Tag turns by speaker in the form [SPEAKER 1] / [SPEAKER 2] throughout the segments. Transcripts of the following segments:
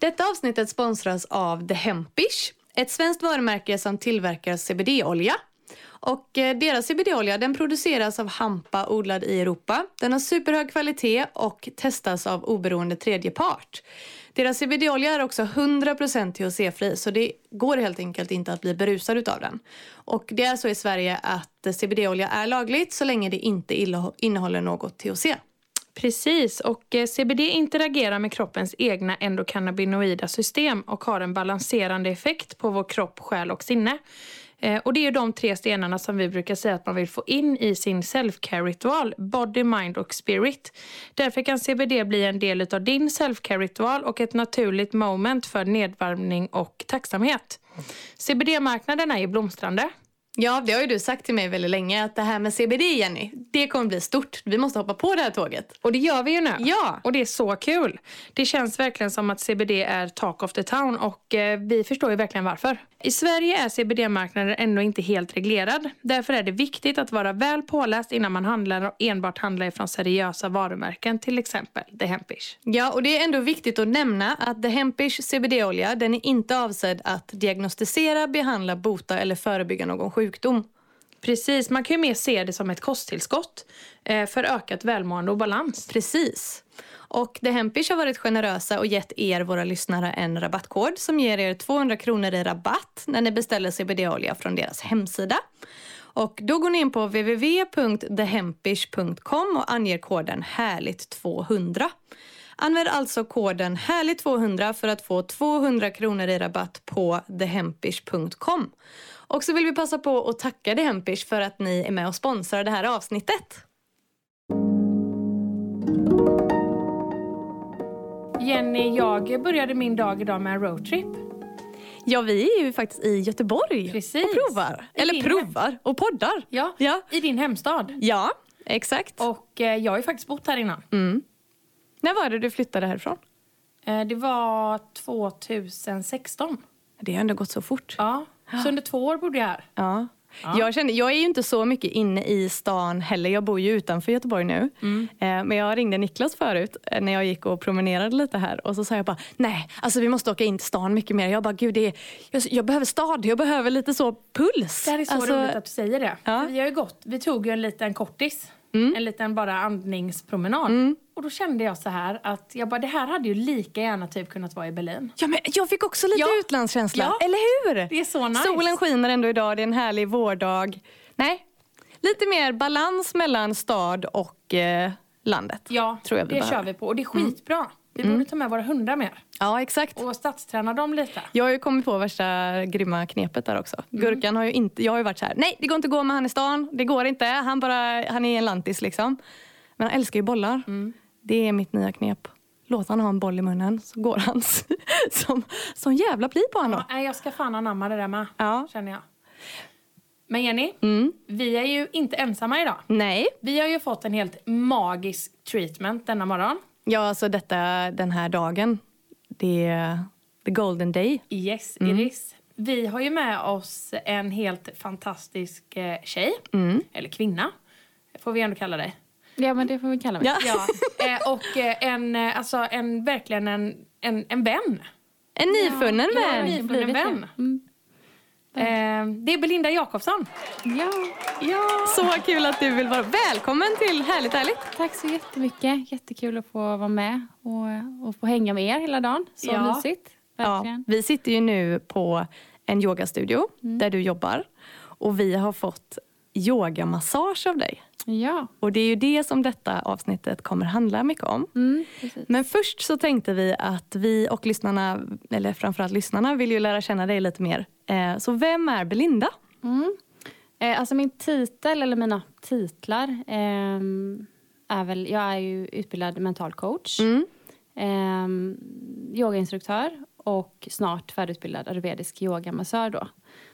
[SPEAKER 1] Detta avsnittet sponsras av The Hempish, ett svenskt varumärke som tillverkar CBD-olja. Och eh, deras CBD-olja den produceras av hampa odlad i Europa. Den har superhög kvalitet och testas av oberoende tredje part. Deras CBD-olja är också 100% THC-fri så det går helt enkelt inte att bli berusad utav den. Och det är så i Sverige att eh, CBD-olja är lagligt så länge det inte illa- innehåller något THC.
[SPEAKER 2] Precis, och eh, CBD interagerar med kroppens egna endokannabinoida system och har en balanserande effekt på vår kropp, själ och sinne. Eh, Och det är ju de tre stenarna som vi brukar säga att man vill få in i sin self-care-ritual, body, mind och spirit. Därför kan CBD bli en del av din self-care-ritual och ett naturligt moment för nedvarvning och tacksamhet. CBD-marknaden är ju blomstrande.
[SPEAKER 1] Ja, det har ju du sagt till mig väldigt länge att det här med CBD, Jenny, det kommer bli stort. Vi måste hoppa på det här tåget.
[SPEAKER 2] Och det gör vi ju nu.
[SPEAKER 1] Ja.
[SPEAKER 2] Och det är så kul. Det känns verkligen som att CBD är talk of the town och eh, vi förstår ju verkligen varför. I Sverige är CBD-marknaden ändå inte helt reglerad. Därför är det viktigt att vara väl påläst innan man handlar och enbart handlar ifrån seriösa varumärken, till exempel The Hempish.
[SPEAKER 1] Ja, och det är ändå viktigt att nämna att The Hempish CBD-olja, den är inte avsedd att diagnostisera, behandla, bota eller förebygga någon sjukdom.
[SPEAKER 2] Precis, man kan ju mer se det som ett kosttillskott eh, för ökat välmående och balans.
[SPEAKER 1] Precis. Och The Hempish har varit generösa och gett er, våra lyssnare, en rabattkod som ger er 200 kronor i rabatt när ni beställer CBD-olja från deras hemsida. Och då går ni in på www.thehempish.com och anger koden härligt200. Använd alltså koden härligt200 för att få 200 kronor i rabatt på thehempish.com. Och så vill vi passa på att tacka The Hempish för att ni är med och sponsrar det här avsnittet.
[SPEAKER 2] Jenny, jag började min dag idag med en roadtrip.
[SPEAKER 1] Ja, vi är ju faktiskt i Göteborg
[SPEAKER 2] Precis.
[SPEAKER 1] och provar.
[SPEAKER 2] I
[SPEAKER 1] Eller
[SPEAKER 2] din
[SPEAKER 1] provar och poddar.
[SPEAKER 2] Ja,
[SPEAKER 1] Ja,
[SPEAKER 2] i din hemstad.
[SPEAKER 1] ja exakt.
[SPEAKER 2] Och eh, jag har ju faktiskt bott här innan.
[SPEAKER 1] När var det du flyttade härifrån?
[SPEAKER 2] Eh, Det var 2016.
[SPEAKER 1] Det har ändå gått så fort.
[SPEAKER 2] Ja. Så under två år bodde jag här.
[SPEAKER 1] Ja. Jag, kände, jag är ju inte så mycket inne i stan heller. Jag bor ju utanför Göteborg nu.
[SPEAKER 2] Mm.
[SPEAKER 1] Eh, men jag ringde Niklas förut eh, när jag gick och promenerade lite här. Och så sa jag bara, nej, alltså vi måste åka in till stan mycket mer. Jag bara, gud, det är, jag, jag behöver stad. Jag behöver lite så puls.
[SPEAKER 2] Det här är så
[SPEAKER 1] Alltså,
[SPEAKER 2] roligt att du säger det.
[SPEAKER 1] Ja.
[SPEAKER 2] För Vi, har ju gått, vi tog ju en liten kortis, en liten bara andningspromenad. Och då kände jag så här att jag bara, det här hade ju lika gärna typ kunnat vara i Berlin.
[SPEAKER 1] Ja, men jag fick också lite
[SPEAKER 2] Ja.
[SPEAKER 1] utlandskänsla.
[SPEAKER 2] Ja.
[SPEAKER 1] Eller hur?
[SPEAKER 2] Det är så nice.
[SPEAKER 1] Solen skiner ändå idag, det är en härlig vårdag. Nej, lite mer balans mellan stad och eh, landet.
[SPEAKER 2] Ja,
[SPEAKER 1] tror jag vi
[SPEAKER 2] det
[SPEAKER 1] behöver.
[SPEAKER 2] kör vi på. Och det är skitbra. Vi borde ta med våra hundar mer
[SPEAKER 1] Ja, exakt.
[SPEAKER 2] och stadsträna dem lite.
[SPEAKER 1] Jag har ju kommit på värsta grymma knepet där också.
[SPEAKER 2] Mm.
[SPEAKER 1] Gurkan har ju inte, jag har ju varit så här, nej det går inte att gå med han i stan, det går inte, han, bara, han är en lantis liksom. Men han älskar ju bollar.
[SPEAKER 2] Mm.
[SPEAKER 1] Det är mitt nya knep. Låt han ha en boll i munnen så går han s- som, som jävla pli på honom.
[SPEAKER 2] Ja, nej, jag ska fan anamma det där med,
[SPEAKER 1] Ja.
[SPEAKER 2] känner jag. Men Jenny, vi är ju inte ensamma idag.
[SPEAKER 1] Nej,
[SPEAKER 2] Vi har ju fått en helt magisk treatment denna morgon.
[SPEAKER 1] Ja, alltså detta, den här dagen. Det är the golden day.
[SPEAKER 2] Yes, Iris. Mm. Vi har ju med oss en helt fantastisk eh, tjej, eller kvinna, får vi ändå kalla dig.
[SPEAKER 3] Ja, men det får vi kalla mig.
[SPEAKER 1] Ja.
[SPEAKER 2] Ja. eh, och eh, en, eh, alltså en, verkligen en, en, en vän.
[SPEAKER 1] En nyfunnen
[SPEAKER 2] Ja,
[SPEAKER 1] vän.
[SPEAKER 2] en nyfunnen
[SPEAKER 3] blivit
[SPEAKER 2] vän. Eh, det är Belinda Jakobsson.
[SPEAKER 3] Ja,
[SPEAKER 2] Ja.
[SPEAKER 1] Så kul att du vill vara Välkommen till Härligt ärligt.
[SPEAKER 3] tack så jättemycket. Jättekul att få vara med och, och få hänga med er hela dagen. Så
[SPEAKER 2] Ja.
[SPEAKER 3] mysigt.
[SPEAKER 1] Ja,
[SPEAKER 3] Verkligen.
[SPEAKER 1] vi sitter ju nu på en yogastudio där du jobbar. Och vi har fått yogamassage av dig.
[SPEAKER 3] Ja.
[SPEAKER 1] Och det är ju det som detta avsnittet kommer handla mycket om.
[SPEAKER 3] Mm, precis.
[SPEAKER 1] Men först så tänkte vi att vi och lyssnarna, eller framförallt lyssnarna, vill ju lära känna dig lite mer. Eh, Så vem är Belinda?
[SPEAKER 3] Mm. Eh, alltså min titel, eller mina titlar, ehm, är väl... Jag är ju utbildad mental coach, ehm, yogainstruktör och snart färdigutbildad ayurvedisk yogamassör. Då.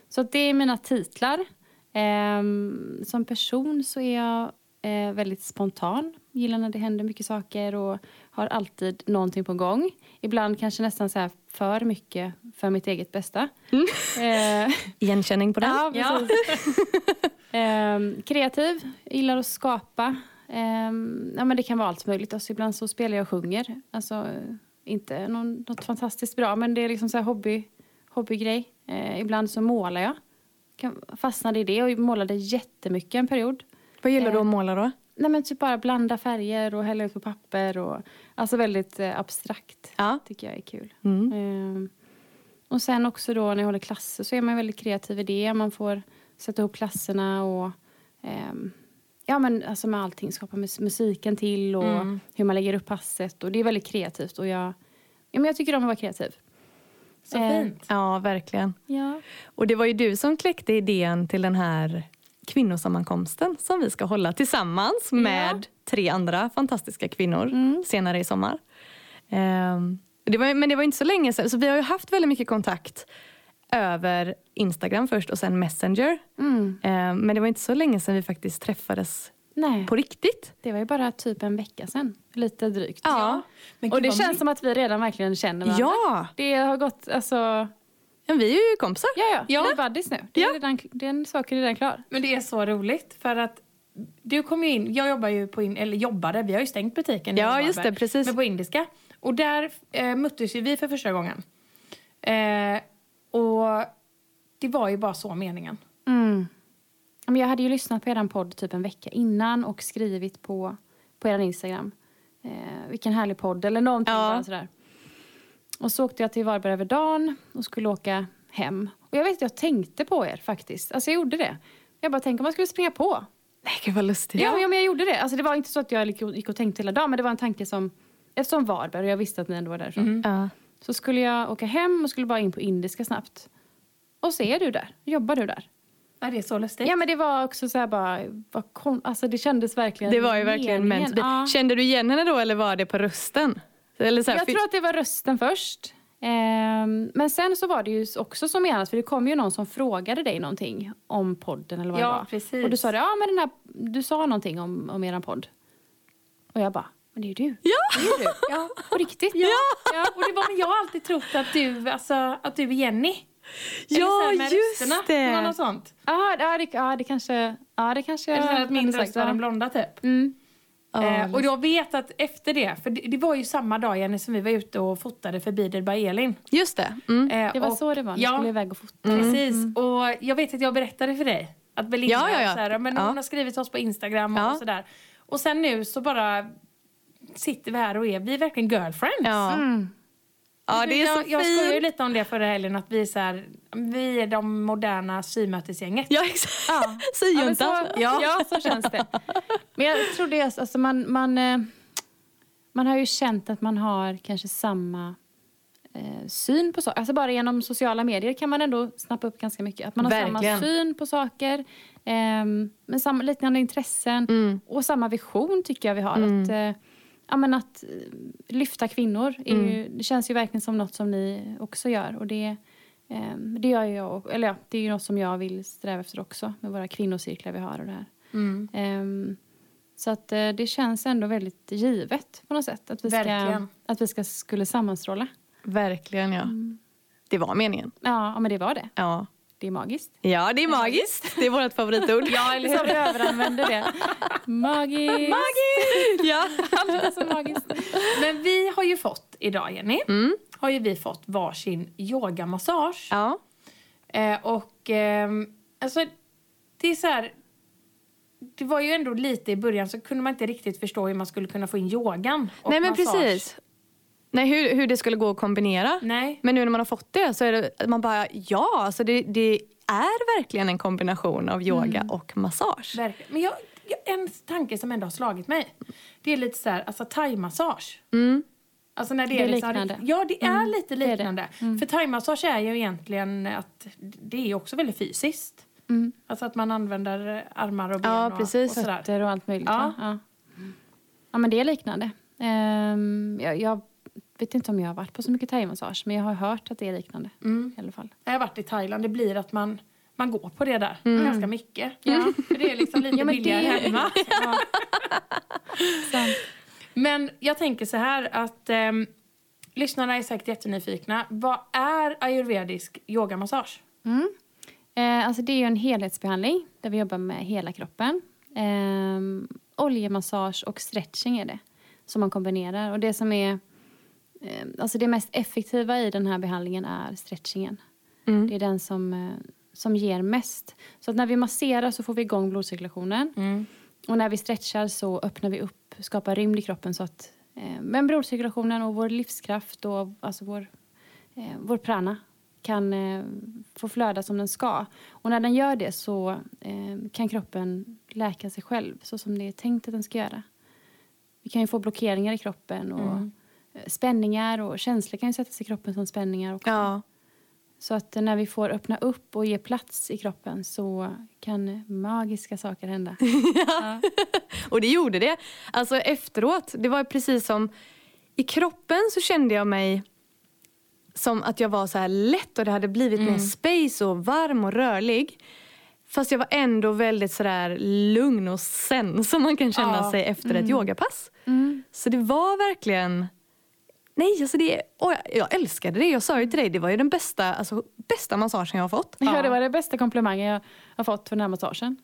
[SPEAKER 3] Så det är mina titlar. Ehm, som person så är jag eh, väldigt spontan. Gillar när det händer mycket saker och har alltid någonting på gång. Ibland kanske nästan så här för mycket för mitt eget bästa. Eh,
[SPEAKER 1] Igenkänning på den?
[SPEAKER 3] Ja, precis. Ehm, kreativ, gillar att skapa. Ehm, ja, men det kan vara allt möjligt. Alltså, ibland så spelar jag och sjunger. Alltså, eh, inte någon, något fantastiskt bra, men det är liksom så här hobby, hobbygrej. Ehm, ibland så målar jag. Kan, fastnade i det och målade jättemycket en period.
[SPEAKER 1] Vad gillar
[SPEAKER 3] Eh.
[SPEAKER 1] du att måla då?
[SPEAKER 3] Nej, men typ bara blanda färger och hälla ut på papper. Och, alltså väldigt eh, abstrakt.
[SPEAKER 1] Ja.
[SPEAKER 3] tycker jag är kul.
[SPEAKER 1] Mm.
[SPEAKER 3] Ehm, och sen också då när jag håller klasser så är man väldigt kreativ i det. Man får sätta ihop klasserna och ehm, ja men alltså med allting, skapa mus- musiken till och
[SPEAKER 2] Mm.
[SPEAKER 3] hur man lägger upp passet och det är väldigt kreativt och jag, ja, men jag tycker om att vara kreativ.
[SPEAKER 2] Så
[SPEAKER 3] Eh,
[SPEAKER 2] fint.
[SPEAKER 1] Ja, verkligen.
[SPEAKER 3] Ja.
[SPEAKER 1] Och det var ju du som kläckte idén till den här kvinnosammankomsten som vi ska hålla tillsammans med tre andra fantastiska kvinnor senare i sommar. Ehm, det var, men det var inte så länge sedan, så vi har ju haft väldigt mycket kontakt över Instagram först och sen Messenger.
[SPEAKER 3] Mm.
[SPEAKER 1] Ehm, men det var inte så länge sedan vi faktiskt träffades
[SPEAKER 3] Nej,
[SPEAKER 1] på riktigt.
[SPEAKER 3] det var ju bara typ en vecka sedan. Lite drygt.
[SPEAKER 1] Ja,
[SPEAKER 2] Men
[SPEAKER 3] Och
[SPEAKER 2] gud,
[SPEAKER 3] det
[SPEAKER 2] vad
[SPEAKER 3] känns som att vi redan verkligen känner varandra.
[SPEAKER 1] ja.
[SPEAKER 3] Det har gått, alltså
[SPEAKER 1] Men vi är ju kompisar.
[SPEAKER 3] Ja, ja.
[SPEAKER 1] Ja.
[SPEAKER 3] Vi är buddies nu. Det är
[SPEAKER 1] Ja.
[SPEAKER 3] redan, den saken är redan klar.
[SPEAKER 2] Men det är så roligt för att du kom ju in, jag jobbar ju på, in, eller jobbade, vi har ju stängt butiken. nu,
[SPEAKER 1] Ja,
[SPEAKER 2] Varberg,
[SPEAKER 1] just det, precis.
[SPEAKER 2] Men på Indiska. Och där eh, möttes ju vi för första gången. Eh, och det var ju bara så meningen.
[SPEAKER 1] Mm.
[SPEAKER 3] Ja, Men jag hade ju lyssnat på er podd typ en vecka innan och skrivit på, på er Instagram. Eh, vilken härlig podd eller någonting
[SPEAKER 1] Ja.
[SPEAKER 3] bara sådär. Och så åkte jag till Varberg över dagen och skulle åka hem. Och jag vet att jag tänkte på er faktiskt. Alltså jag gjorde det. Jag bara tänkte om man skulle springa på.
[SPEAKER 1] Nej, gud vad lustigt.
[SPEAKER 3] Ja, men- ja, men jag gjorde det. Alltså det var inte så att jag gick och- gick och tänkte hela dagen men det var en tanke som, eftersom Varberg och jag visste att ni ändå var därifrån.
[SPEAKER 1] Ja.
[SPEAKER 3] Så skulle jag åka hem och skulle bara in på indiska snabbt. Och så är du där. Jobbar du där?
[SPEAKER 2] Ja, det är så lustigt.
[SPEAKER 3] Ja men det var också så här bara, vad kon- alltså det kändes verkligen
[SPEAKER 1] Det var ju verkligen meant to be.
[SPEAKER 3] meningen. Ja.
[SPEAKER 1] Kände du igen henne då eller var det på rösten? Eller så här,
[SPEAKER 3] Jag
[SPEAKER 1] för-
[SPEAKER 3] tror att det var rösten först. Ehm, men sen så var det ju också som i annat, för det kom ju någon som frågade dig någonting om podden eller vad det
[SPEAKER 2] Ja,
[SPEAKER 3] var.
[SPEAKER 2] precis.
[SPEAKER 3] Och du sa det, ja men den här, du sa någonting om, om eran podd. Och jag bara, men det är ju du.
[SPEAKER 1] Ja!
[SPEAKER 2] Det är du. ja.
[SPEAKER 3] På riktigt.
[SPEAKER 2] Ja. och det var men jag har alltid trott att du, alltså, att du är Jenny. Eller
[SPEAKER 1] Ja,
[SPEAKER 2] så här med
[SPEAKER 1] just
[SPEAKER 2] rösterna,
[SPEAKER 1] det.
[SPEAKER 2] eller Något sånt.
[SPEAKER 3] Ja, ja, det, ja, det kanske... Ja, det kanske
[SPEAKER 2] Eller så här
[SPEAKER 3] jag
[SPEAKER 2] att min
[SPEAKER 3] hade sagt,
[SPEAKER 2] röst var
[SPEAKER 3] ja.
[SPEAKER 2] den blonda typ.
[SPEAKER 3] Mm.
[SPEAKER 2] Eh, och jag vet att efter det, för det, det var ju samma dag Jenny som vi var ute och fotade förbi Derby Elin.
[SPEAKER 1] Just det. Mm.
[SPEAKER 2] Eh,
[SPEAKER 3] Det var
[SPEAKER 2] och-
[SPEAKER 3] så det var, ni
[SPEAKER 2] Ja, Mm.
[SPEAKER 3] skulle iväg och fota.
[SPEAKER 2] precis. Och jag vet att jag berättade för dig att Belinda
[SPEAKER 1] Ja, ja, ja.
[SPEAKER 2] Så här, men
[SPEAKER 1] Ja.
[SPEAKER 2] hon har skrivit till oss på Instagram och,
[SPEAKER 1] Ja.
[SPEAKER 2] sådär. Och sen nu så bara sitter vi här och är, vi är verkligen girlfriends.
[SPEAKER 1] Ja.
[SPEAKER 3] Mm.
[SPEAKER 1] ja, det är så
[SPEAKER 2] jag, jag skojar ju
[SPEAKER 1] fint.
[SPEAKER 2] lite om det förra helgen att vi är, så här, vi är de moderna symötesgänget.
[SPEAKER 1] Ja, exakt.
[SPEAKER 3] Ja. Ja, men så,
[SPEAKER 1] Syjuntan.
[SPEAKER 3] ja. så känns det. Men jag tror det är så- alltså man, man, eh, man har ju känt att man har kanske samma eh, syn på saker. Alltså bara genom sociala medier kan man ändå snappa upp ganska mycket. Att man har samma
[SPEAKER 1] Verkligen.
[SPEAKER 3] syn på saker, ehm, men samma, liknande intressen
[SPEAKER 1] Mm.
[SPEAKER 3] och samma vision tycker jag vi har. Att, eh, ja, men att eh, lyfta kvinnor är ju, det känns ju verkligen som något som ni också gör. Och det, ehm, det gör ju jag, och- eller ja, det är ju något som jag vill sträva efter också med våra kvinnocirklar vi har och det här.
[SPEAKER 2] Mm.
[SPEAKER 3] Ehm, så att eh, det känns ändå väldigt givet på något sätt att vi ska,
[SPEAKER 2] Verkligen.
[SPEAKER 3] att vi ska skulle sammanstråla.
[SPEAKER 1] Verkligen, ja.
[SPEAKER 2] Mm.
[SPEAKER 1] Det var meningen.
[SPEAKER 3] Ja, ja, men det var det.
[SPEAKER 1] Ja.
[SPEAKER 3] Det är magiskt.
[SPEAKER 1] Ja, det är magiskt. Det är vårt favoritord.
[SPEAKER 2] Ja, eller
[SPEAKER 3] Som vi överanvänder det. Magiskt!
[SPEAKER 1] ja.
[SPEAKER 3] Allt är så magiskt.
[SPEAKER 2] Men vi har ju fått idag, Jenny, har ju vi fått varsin yogamassage.
[SPEAKER 1] Mm. ja.
[SPEAKER 2] Eh, och ehm, alltså, det är så här... Det var ju ändå lite i början så kunde man inte riktigt förstå hur man skulle kunna få in yogan och
[SPEAKER 1] Nej, men
[SPEAKER 2] massage.
[SPEAKER 1] precis. Nej, hur, hur det skulle gå att kombinera.
[SPEAKER 2] Nej.
[SPEAKER 1] Men nu när man har fått det så är det man bara, ja, alltså det, det är verkligen en kombination av yoga och massage.
[SPEAKER 2] Verkligen. Men jag, ja, en tanke som ändå har slagit mig. Det är lite så här, alltså thaimassage. Alltså när det,
[SPEAKER 3] Det
[SPEAKER 2] är
[SPEAKER 3] är
[SPEAKER 2] liksom,
[SPEAKER 3] liknande.
[SPEAKER 2] Ja, det är lite
[SPEAKER 3] det är det.
[SPEAKER 2] liknande. För thaimassage är ju egentligen att det är ju också väldigt fysiskt. Alltså att man använder eh, armar och ben
[SPEAKER 1] Ja,
[SPEAKER 2] och,
[SPEAKER 1] precis.
[SPEAKER 2] och sådär.
[SPEAKER 3] fötter och allt möjligt.
[SPEAKER 2] Ja.
[SPEAKER 3] Ja. Ja. ja, men det är liknande. Ehm, jag, jag vet inte om jag har varit på så mycket thaimassage, men jag har hört att det är liknande.
[SPEAKER 2] Mm.
[SPEAKER 3] I alla fall.
[SPEAKER 2] När jag har varit i Thailand, det blir att man, man går på det där ganska mycket. För det är liksom lite
[SPEAKER 3] Mm. Ja, men det-
[SPEAKER 2] billigare hemma. Ja.
[SPEAKER 3] Sant.
[SPEAKER 2] Men jag tänker så här att ehm, lyssnarna är säkert jättenyfikna. Vad är ayurvedisk yogamassage?
[SPEAKER 3] Mm. Eh, alltså det är ju en helhetsbehandling där vi jobbar med hela kroppen. Ehm, oljemassage och stretching är det som man kombinerar. Och det som är eh, alltså det mest effektiva i den här behandlingen är stretchingen.
[SPEAKER 2] Mm.
[SPEAKER 3] Det är den som, eh, som ger mest. Så att när vi masserar så får vi igång blodcirkulationen.
[SPEAKER 2] Mm.
[SPEAKER 3] Och när vi stretchar så öppnar vi upp, skapar rymd i kroppen så att eh, men blodcirkulationen och vår livskraft och alltså vår, eh, vår prana kan eh, få flöda som den ska. Och när den gör det så eh, kan kroppen läka sig själv så som det är tänkt att den ska göra. Vi kan ju få blockeringar i kroppen och eh, spänningar och känslor kan ju sätta sig i kroppen som spänningar också.
[SPEAKER 1] Ja.
[SPEAKER 3] Så att när vi får öppna upp och ge plats i kroppen så kan magiska saker hända.
[SPEAKER 1] Och det gjorde det. Alltså efteråt, det var precis som... I kroppen så kände jag mig som att jag var så här lätt och det hade blivit mer space och varm och rörlig. Fast jag var ändå väldigt så där lugn och sen som man kan känna
[SPEAKER 2] Ja.
[SPEAKER 1] sig efter ett yogapass. Så det var verkligen... Nej, alltså det, åh, jag, jag älskade det. Jag sa ju till dig, det var ju den bästa, alltså, bästa massagen jag har fått.
[SPEAKER 3] Ja. det var den bästa komplimangen jag har fått för den här massagen.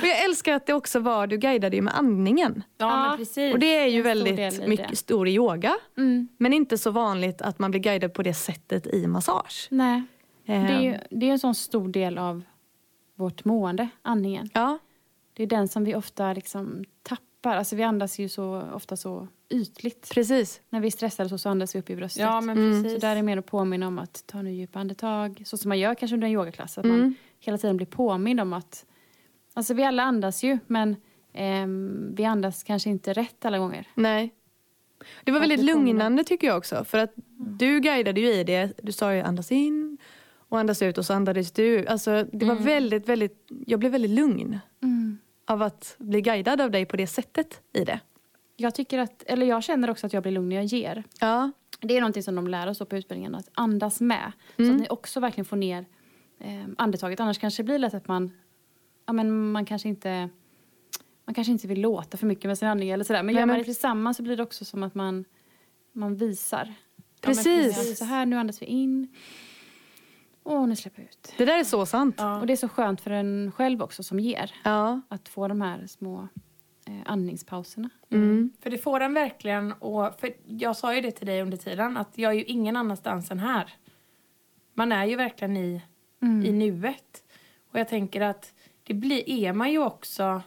[SPEAKER 1] Och jag älskar att det också var, du guidade ju med andningen.
[SPEAKER 2] Ja,
[SPEAKER 3] Ja.
[SPEAKER 2] men precis.
[SPEAKER 1] Och det är ju
[SPEAKER 3] en stor del i
[SPEAKER 1] väldigt
[SPEAKER 3] det.
[SPEAKER 1] mycket stor i yoga.
[SPEAKER 3] Mm.
[SPEAKER 1] Men inte så vanligt att man blir guidad på det sättet i massage.
[SPEAKER 3] Nej. Det är, ju,
[SPEAKER 1] Ehm,
[SPEAKER 3] det är en sån stor del av vårt mående, andningen.
[SPEAKER 1] Ja,
[SPEAKER 3] Det är den som vi ofta liksom tappar. Alltså vi andas ju så, ofta så ytligt.
[SPEAKER 1] precis.
[SPEAKER 3] När vi är stressade så, så andas vi upp i bröstet.
[SPEAKER 2] Ja, men
[SPEAKER 1] Mm.
[SPEAKER 2] precis.
[SPEAKER 3] Så där är det mer att påminna om att ta nu djupa andetag. Så som man gör kanske under en yogaklass. Att man hela tiden blir påmind om att... Alltså vi alla andas ju, men ehm, vi andas kanske inte rätt alla gånger.
[SPEAKER 1] Nej. Det var
[SPEAKER 3] Att
[SPEAKER 1] väldigt
[SPEAKER 3] det kommer. Mm.
[SPEAKER 1] lugnande tycker jag också. För att du guidade ju i det. Du sa ju andas in och andas ut och så andades du. Alltså det var
[SPEAKER 3] Mm.
[SPEAKER 1] väldigt, väldigt, jag blev väldigt lugn av att bli guidad av dig på det sättet i det.
[SPEAKER 3] Jag, tycker att, eller jag känner också att jag blir lugn när jag ger.
[SPEAKER 1] Ja,
[SPEAKER 3] Det är någonting som de lär oss då på utbildningen, att andas med. Så
[SPEAKER 1] Mm.
[SPEAKER 3] att ni också verkligen får ner eh, andetaget. Annars kanske det blir lätt att man, ja, men man kanske inte man kanske inte vill låta för mycket med sin andning eller sådär. Men
[SPEAKER 1] Nej,
[SPEAKER 3] gör man
[SPEAKER 1] men-
[SPEAKER 3] det tillsammans så blir det också som att man, man visar.
[SPEAKER 1] precis.
[SPEAKER 2] precis.
[SPEAKER 3] Så här, nu andas vi in. Och nu släpper vi ut.
[SPEAKER 1] Det där är så sant.
[SPEAKER 2] Ja.
[SPEAKER 3] Och det är så skönt för en själv också som ger.
[SPEAKER 1] Ja.
[SPEAKER 3] Att få de här små eh, andningspauserna.
[SPEAKER 2] För det får en verkligen och för jag sa ju det till dig under tiden att jag är ju ingen annanstans än här. Man är ju verkligen i,
[SPEAKER 3] Mm.
[SPEAKER 2] i nuet. Och jag tänker att det blir, är man ju också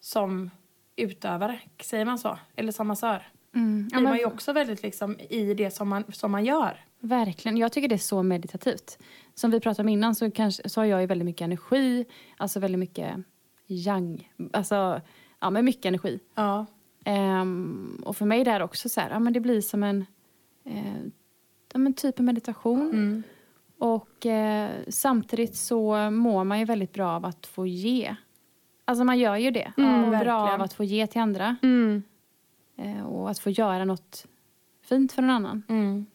[SPEAKER 2] som utövare, säger man så? Eller som massör.
[SPEAKER 3] Mm.
[SPEAKER 2] Blir man ju också väldigt liksom i det som man, som man gör.
[SPEAKER 3] Verkligen. Jag tycker det är så meditativt. Som vi pratade om innan så, kanske, så har jag ju väldigt mycket energi. Alltså väldigt mycket yang. Alltså, ja men mycket energi.
[SPEAKER 2] Ja.
[SPEAKER 3] Ehm, och för mig det är det också så här, ja men det blir som en eh, ja, men typ av meditation.
[SPEAKER 2] Mm.
[SPEAKER 3] Och eh, samtidigt så mår man ju väldigt bra av att få ge. Alltså man gör ju det.
[SPEAKER 2] Mm,
[SPEAKER 3] man mår bra
[SPEAKER 2] verkligen.
[SPEAKER 3] av att få ge till andra.
[SPEAKER 1] Mm.
[SPEAKER 3] Eh, och att få göra något fint för någon annan.
[SPEAKER 2] Mm.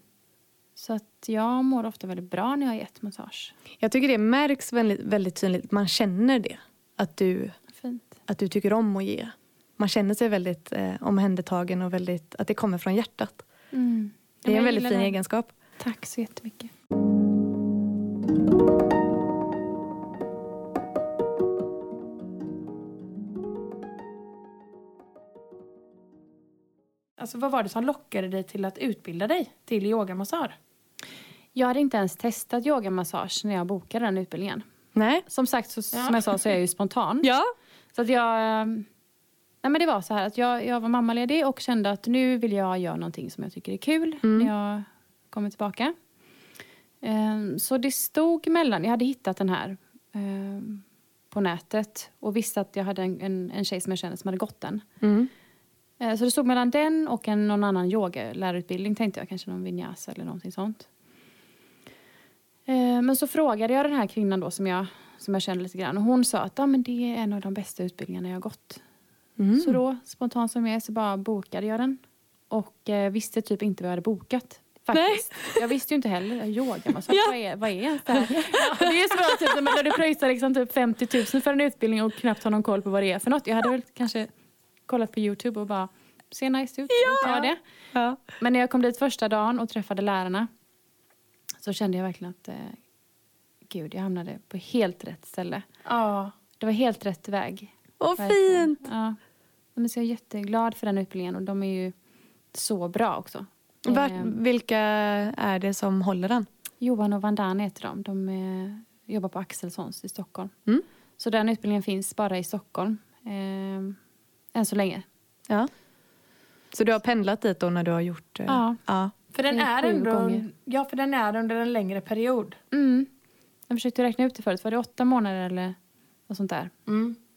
[SPEAKER 3] Så att jag mår ofta väldigt bra när jag har gett massage.
[SPEAKER 1] Jag tycker det märks väldigt, väldigt tydligt. Man känner det. Att du
[SPEAKER 3] Fint.
[SPEAKER 1] att du tycker om att ge. Man känner sig väldigt eh, omhändertagen och väldigt, att det kommer från hjärtat.
[SPEAKER 3] Mm.
[SPEAKER 1] Det är en väldigt fin egenskap.
[SPEAKER 3] Tack så jättemycket.
[SPEAKER 2] Alltså, vad var det som lockade dig till att utbilda dig till yogamassör?
[SPEAKER 3] Jag hade inte ens testat yogamassage när jag bokade den utbildningen.
[SPEAKER 1] Nej?
[SPEAKER 3] Som sagt, så,
[SPEAKER 2] Ja.
[SPEAKER 3] som jag sa så är jag ju spontan.
[SPEAKER 1] Ja.
[SPEAKER 3] Så att jag... eh, Nej men det var så här att jag, jag var mammaledig och kände att nu vill jag göra någonting som jag tycker är kul när jag kommer tillbaka. Ehm, Eh, Så det stod mellan, jag hade hittat den här eh, på nätet och visste att jag hade en, en, en tjej som jag kände som hade gått den.
[SPEAKER 1] Mm.
[SPEAKER 3] Eh, Så det stod mellan den och en, någon annan yogalärarutbildning tänkte jag, kanske någon vinyasa eller någonting sånt. Eh, Men så frågade jag den här kvinnan då som jag, som jag kände lite grann och hon sa att ah, men det är en av de bästa utbildningarna jag har gått. Så då, spontant som jag är, så bara bokade jag den. Och eh, visste typ inte vad jag hade bokat. Faktiskt. Jag visste ju inte heller. Jag yogar. Man sa,
[SPEAKER 2] Ja.
[SPEAKER 3] vad är, vad är ens det här? Det är så bra typ, när man- när du pröjsar liksom, typ 50 000 för en utbildning och knappt har någon koll på vad det är för något. Jag hade väl kanske kollat på Youtube och bara, ser nice ut. Ja. Jag det.
[SPEAKER 2] Ja.
[SPEAKER 3] Men när jag kom dit första dagen och träffade lärarna så kände jag verkligen att eh, gud, jag hamnade på helt rätt ställe.
[SPEAKER 2] Ja.
[SPEAKER 3] Det var helt rätt väg.
[SPEAKER 1] Åh,
[SPEAKER 3] Verkligen.
[SPEAKER 1] fint!
[SPEAKER 3] Ja. Men så jag är jätteglad för den utbildningen och de är ju så bra också. Eh,
[SPEAKER 1] Vart, vilka är det som håller den?
[SPEAKER 3] Johan och Vandana heter de. De eh, jobbar på Axelssons i Stockholm.
[SPEAKER 1] Mm.
[SPEAKER 3] Så den utbildningen finns bara i Stockholm. Eh, än så länge.
[SPEAKER 1] Ja. Så du har pendlat dit då när du har gjort... eh,
[SPEAKER 3] Ja.
[SPEAKER 1] ja.
[SPEAKER 2] För den
[SPEAKER 3] Det är
[SPEAKER 2] är
[SPEAKER 3] sju
[SPEAKER 2] ändå...
[SPEAKER 3] gånger.
[SPEAKER 2] Ja, för den är under en längre period.
[SPEAKER 3] Mm. Jag försökte räkna ut det förut. Var det åtta månader eller något sånt där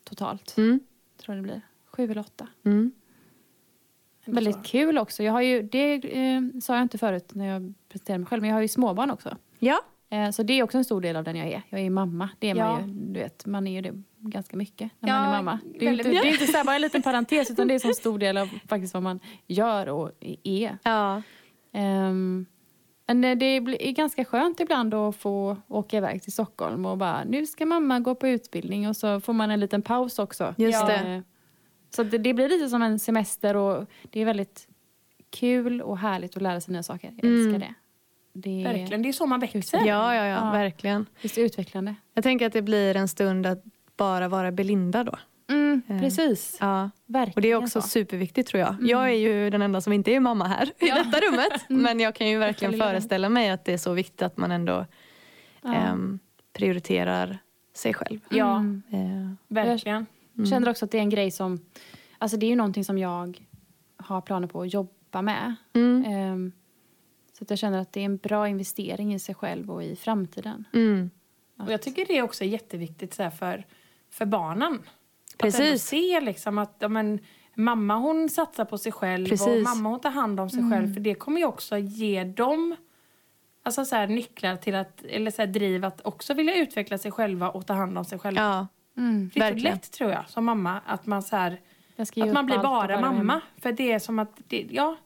[SPEAKER 3] totalt?
[SPEAKER 1] Mm.
[SPEAKER 3] Tror jag det blir. Sju eller åtta.
[SPEAKER 1] Mm.
[SPEAKER 3] Väldigt kul också. Jag har ju, det eh, sa jag inte förut när jag presenterade mig själv, men jag har ju småbarn också.
[SPEAKER 1] Ja.
[SPEAKER 3] Eh, Så det är också en stor del av den jag är. Jag är mamma. Det är man
[SPEAKER 2] Ja.
[SPEAKER 3] ju, du vet, man är ju det ganska mycket när
[SPEAKER 2] Ja,
[SPEAKER 3] man är mamma. Det är ju
[SPEAKER 2] väldigt
[SPEAKER 3] inte, det är inte så här bara en liten parentes utan det är en sån stor del av faktiskt vad man gör och är.
[SPEAKER 1] Ja.
[SPEAKER 3] Ehm, men eh, det blir- är ganska skönt ibland att få åka iväg till Stockholm och bara nu ska mamma gå på utbildning och så får man en liten paus också.
[SPEAKER 1] Just
[SPEAKER 3] Ja.
[SPEAKER 1] det.
[SPEAKER 3] Eh, Så det, det blir lite som en semester och det är väldigt kul och härligt att lära sig nya saker. Jag
[SPEAKER 1] Mm.
[SPEAKER 3] älskar det. det är,
[SPEAKER 2] Verkligen. Det är så man växer.
[SPEAKER 1] Ja, ja, ja,
[SPEAKER 3] Ja.
[SPEAKER 1] verkligen.
[SPEAKER 3] Visst är det utvecklande?
[SPEAKER 1] Jag tänker att det blir en stund att bara vara Belinda då.
[SPEAKER 3] Mm,
[SPEAKER 1] Eh,
[SPEAKER 3] precis.
[SPEAKER 1] Ja.
[SPEAKER 3] Verkligen
[SPEAKER 1] Och det är också
[SPEAKER 3] så.
[SPEAKER 1] superviktigt tror jag.
[SPEAKER 2] Mm.
[SPEAKER 1] Jag är ju den enda som inte är mamma här i detta rummet. Men jag kan ju verkligen
[SPEAKER 3] lilla den.
[SPEAKER 1] föreställa mig att det är så viktigt att man ändå
[SPEAKER 3] Ja.
[SPEAKER 1] ehm, prioriterar sig själv.
[SPEAKER 2] Ja,
[SPEAKER 3] Mm.
[SPEAKER 1] Eh,
[SPEAKER 2] verkligen.
[SPEAKER 1] Mm.
[SPEAKER 3] Jag känner också att det är en grej som... Alltså det är ju någonting som jag har planer på att jobba med.
[SPEAKER 1] Mm.
[SPEAKER 3] Ehm, så att jag känner att det är en bra investering i sig själv och i framtiden.
[SPEAKER 1] Mm.
[SPEAKER 2] Och jag tycker det är också jätteviktigt så här, för, för barnen. Att ändå
[SPEAKER 1] Precis.
[SPEAKER 2] se liksom att ja, men, mamma hon satsar på sig själv och
[SPEAKER 1] Precis.
[SPEAKER 2] mamma hon tar hand om sig
[SPEAKER 3] Mm.
[SPEAKER 2] själv. För det kommer ju också ge dem alltså, så här, nycklar till att, eller så här, driv att också vilja utveckla sig själva och ta hand om sig själva.
[SPEAKER 1] Ja,
[SPEAKER 2] det är så
[SPEAKER 1] verkligen.
[SPEAKER 2] lätt tror jag som mamma att man så här,
[SPEAKER 3] Jag ska ge
[SPEAKER 2] Mm. att man
[SPEAKER 3] upp
[SPEAKER 2] blir
[SPEAKER 3] allt och
[SPEAKER 2] bara
[SPEAKER 3] vara
[SPEAKER 2] mamma.
[SPEAKER 3] hemma.
[SPEAKER 2] För det är som att det, ja,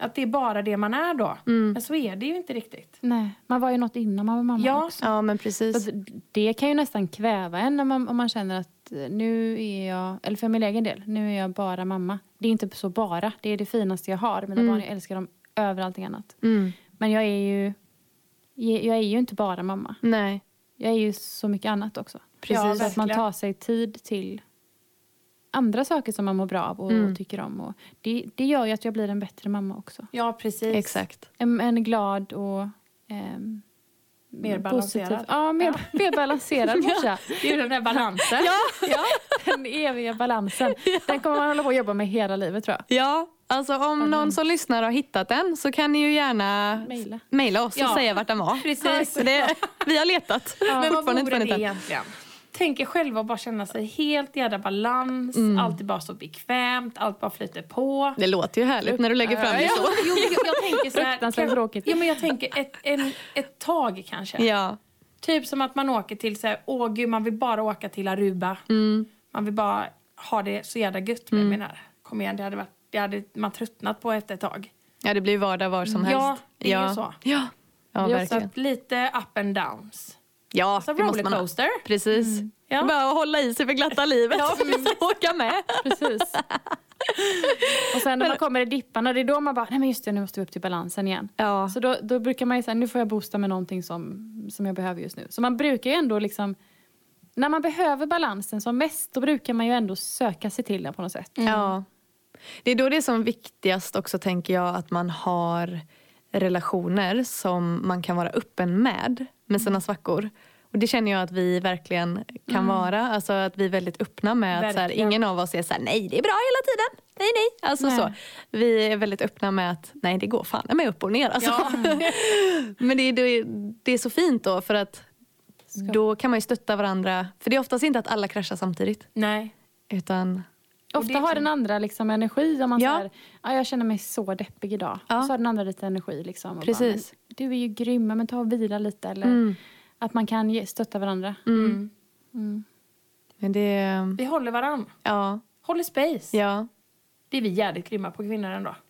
[SPEAKER 2] att det är bara det man är då.
[SPEAKER 3] Mm.
[SPEAKER 1] mm.
[SPEAKER 2] Men så är det ju inte riktigt.
[SPEAKER 3] Nej, man var ju något innan man var mamma.
[SPEAKER 2] Ja,
[SPEAKER 1] ja, men
[SPEAKER 3] Så
[SPEAKER 2] Alltså,
[SPEAKER 1] precis.
[SPEAKER 3] att det kan ju nästan kväva en om man, om man känner att eh, nu är jag, eller för min egen del, nu är jag bara mamma. Det är inte så bara, det är det finaste jag har.
[SPEAKER 2] Mm.
[SPEAKER 3] Mina barn, jag älskar dem över allting annat.
[SPEAKER 1] Mm.
[SPEAKER 3] Men jag är ju, jag är ju inte bara mamma.
[SPEAKER 1] Nej,
[SPEAKER 3] Jag är ju så mycket annat också.
[SPEAKER 2] Precis.
[SPEAKER 3] så att man
[SPEAKER 2] verkligen.
[SPEAKER 3] tar sig tid till andra saker som man mår bra av och tycker om. Och det, det gör ju att jag blir en bättre mamma också.
[SPEAKER 2] ja precis.
[SPEAKER 1] exakt.
[SPEAKER 3] En, en glad och ehm,
[SPEAKER 2] Mer
[SPEAKER 3] positiv.
[SPEAKER 2] balanserad.
[SPEAKER 3] Ja, mer, mer balanserad morsa.
[SPEAKER 2] Det är ju den där balansen. ja.
[SPEAKER 3] ja. Den eviga balansen. Den kommer man hålla på att jobba med hela livet tror jag.
[SPEAKER 1] Ja, alltså om någon som lyssnar har hittat den så kan ni ju gärna
[SPEAKER 3] Mejla.
[SPEAKER 1] mejla oss och
[SPEAKER 2] Ja.
[SPEAKER 1] säga vart den var.
[SPEAKER 2] Precis.
[SPEAKER 1] För Det, vi har letat.
[SPEAKER 2] Men vad
[SPEAKER 1] Fortfarande
[SPEAKER 2] vore
[SPEAKER 1] inte
[SPEAKER 2] det
[SPEAKER 1] funnit den.
[SPEAKER 2] egentligen? Tänk er själva att bara känna sig helt jävla balans.
[SPEAKER 1] Mm.
[SPEAKER 2] Allt är bara så bekvämt, allt bara flyter på.
[SPEAKER 1] Det låter ju härligt när du lägger fram det så.
[SPEAKER 2] Jo, men jag, jag tänker så här,
[SPEAKER 3] Fruktansvärt tråkigt.
[SPEAKER 2] ja, men jag tänker ett, en, ett tag kanske.
[SPEAKER 1] Ja,
[SPEAKER 2] Typ som att man åker till så här, åh gud man vill bara åka till Aruba.
[SPEAKER 1] Mm.
[SPEAKER 2] Man vill bara ha det så jävla gött med mm. menar. Kom igen, det hade, varit, det hade man tröttnat på efter ett tag.
[SPEAKER 1] ja det blir ju vardag var som
[SPEAKER 2] Ja,
[SPEAKER 1] helst.
[SPEAKER 2] det är ju så.
[SPEAKER 1] Ja, ja
[SPEAKER 3] Det är
[SPEAKER 2] Så
[SPEAKER 1] verkligen.
[SPEAKER 2] att lite up and downs.
[SPEAKER 1] Ja,
[SPEAKER 2] Så
[SPEAKER 1] det måste man ha.
[SPEAKER 2] rollercoaster.
[SPEAKER 1] Precis.
[SPEAKER 2] Ja.
[SPEAKER 1] Bara att hålla i sig för glatta livet.
[SPEAKER 2] Ja,
[SPEAKER 1] Åka med.
[SPEAKER 3] Precis. Och sen när man kommer i dipparna, det är då man bara, nej men just det, nu måste vi upp till balansen igen.
[SPEAKER 1] Ja.
[SPEAKER 3] Så då, då brukar man ju säga, nu får jag boosta med någonting som, som jag behöver just nu. Så man brukar ju ändå liksom, när man behöver balansen som mest, då brukar man ju ändå söka sig till den på något sätt.
[SPEAKER 1] Ja. Mm. Det är då det är som viktigast också tänker jag att man har relationer som man kan vara öppen med, med sina svackor. Och det känner jag att vi verkligen kan vara. Alltså att vi är väldigt öppna med att så här,
[SPEAKER 2] Verkligen.
[SPEAKER 1] ingen av oss är så här, nej det är bra hela tiden. Nej nej. Alltså
[SPEAKER 3] Nej.
[SPEAKER 1] så. Vi är väldigt öppna med att nej det går fan med upp och ner. Alltså. Men det är, det är så fint då för att
[SPEAKER 3] Ska-
[SPEAKER 1] Då kan man ju stötta varandra. För det är oftast inte att alla kraschar samtidigt.
[SPEAKER 2] Nej.
[SPEAKER 1] Utan
[SPEAKER 3] Ofta har den andra liksom energi. Om man
[SPEAKER 1] Ja.
[SPEAKER 3] säger ja, jag känner mig så deppig idag.
[SPEAKER 1] Ja.
[SPEAKER 3] Och så har den andra lite energi. Liksom, och
[SPEAKER 1] Precis. Mm.
[SPEAKER 3] Bara, men, du är ju grym, men ta och vila lite. Eller, Att man kan ge, stötta varandra.
[SPEAKER 2] Mm.
[SPEAKER 1] men det...
[SPEAKER 2] Vi håller varann.
[SPEAKER 1] Ja.
[SPEAKER 2] Håller space.
[SPEAKER 1] Ja,
[SPEAKER 2] Det är vi jävligt grymma på kvinnor ändå.
[SPEAKER 1] Mm,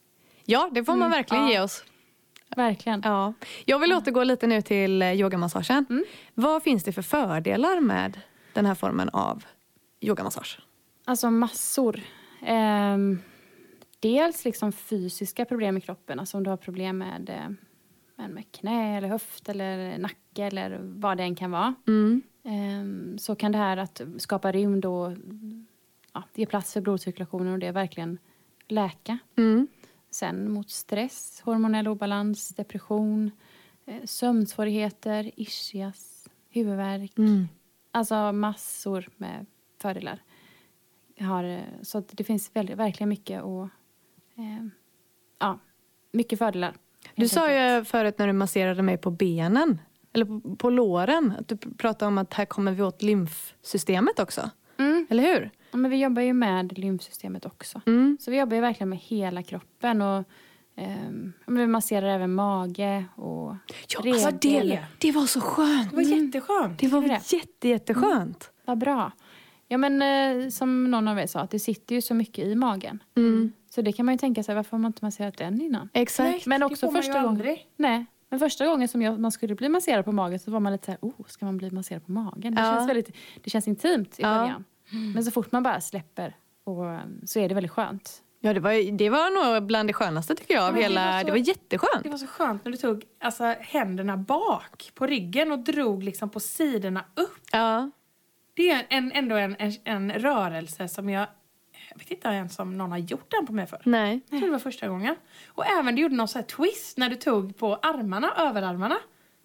[SPEAKER 1] ja det får man verkligen ge oss. Mm.
[SPEAKER 3] Verkligen.
[SPEAKER 1] Ja. Jag vill återgå lite nu till eh, yogamassagen. Vad finns det för fördelar med den här formen av yogamassage?
[SPEAKER 3] Alltså massor. Ehm, dels liksom fysiska problem i kroppen. Alltså om du har problem med, eh, med, med knä, eller höft, eller nacke eller vad det än kan vara.
[SPEAKER 1] Mm.
[SPEAKER 3] Ehm, så kan det här att skapa rymd och ja, ge plats för blodcirkulationen och det verkligen läka.
[SPEAKER 1] Mm.
[SPEAKER 3] Sen mot stress, hormonell obalans, depression, eh, sömnsvårigheter, ischias, huvudvärk.
[SPEAKER 1] Mm.
[SPEAKER 3] Alltså massor med fördelar. Har, eh, så att det finns väldigt, verkligen mycket och eh, ja, mycket fördelar.
[SPEAKER 1] Du
[SPEAKER 3] helt
[SPEAKER 1] sa
[SPEAKER 3] enkelt.
[SPEAKER 1] ju förut när du masserade mig på benen, eller på, på låren, att du p- pratade om att här kommer vi åt lymfsystemet också.
[SPEAKER 3] Mm.
[SPEAKER 1] Eller hur?
[SPEAKER 3] Ja, men vi jobbar ju med lymfsystemet också.
[SPEAKER 1] Mm.
[SPEAKER 3] Så vi jobbar ju verkligen med hela kroppen och ehm, ja, men vi masserar även mage och
[SPEAKER 1] Ja,
[SPEAKER 3] revben.
[SPEAKER 1] alltså det, det var så skönt!
[SPEAKER 2] Det var jätteskönt.
[SPEAKER 1] Det var
[SPEAKER 3] Tycker du Mm. det?
[SPEAKER 1] jätte, Mm. jätteskönt.
[SPEAKER 3] Vad bra. Ja, men eh, som någon av er sa, att det sitter ju så mycket i magen.
[SPEAKER 1] Mm.
[SPEAKER 3] Så det kan man ju tänka sig, varför har man inte masserat den innan?
[SPEAKER 1] Exakt.
[SPEAKER 3] Men
[SPEAKER 2] det
[SPEAKER 3] också
[SPEAKER 2] får man ju
[SPEAKER 3] första gången-
[SPEAKER 2] aldrig.
[SPEAKER 3] Nej, men första gången som jag, man skulle bli masserad på magen så var man lite så här, oh, ska man bli masserad på magen? Det,
[SPEAKER 1] Ja.
[SPEAKER 3] känns, väldigt, det känns intimt i
[SPEAKER 1] Ja.
[SPEAKER 3] början.
[SPEAKER 2] Mm.
[SPEAKER 3] Men så fort man bara släpper och, eh, så är det väldigt skönt.
[SPEAKER 1] Ja, det var, det var nog bland det skönaste tycker jag. Av
[SPEAKER 2] Ja, det
[SPEAKER 1] hela,
[SPEAKER 2] var så-
[SPEAKER 1] det var jätteskönt.
[SPEAKER 2] Det var så skönt när du tog alltså, händerna bak på ryggen och drog liksom på sidorna upp.
[SPEAKER 1] Ja.
[SPEAKER 2] Det är en, ändå en, en, en rörelse som jag... Jag vet inte ens om någon har gjort den på mig förr.
[SPEAKER 1] Nej.
[SPEAKER 2] Jag tror det var första gången. Och även du gjorde någon så här twist när du tog på armarna, överarmarna.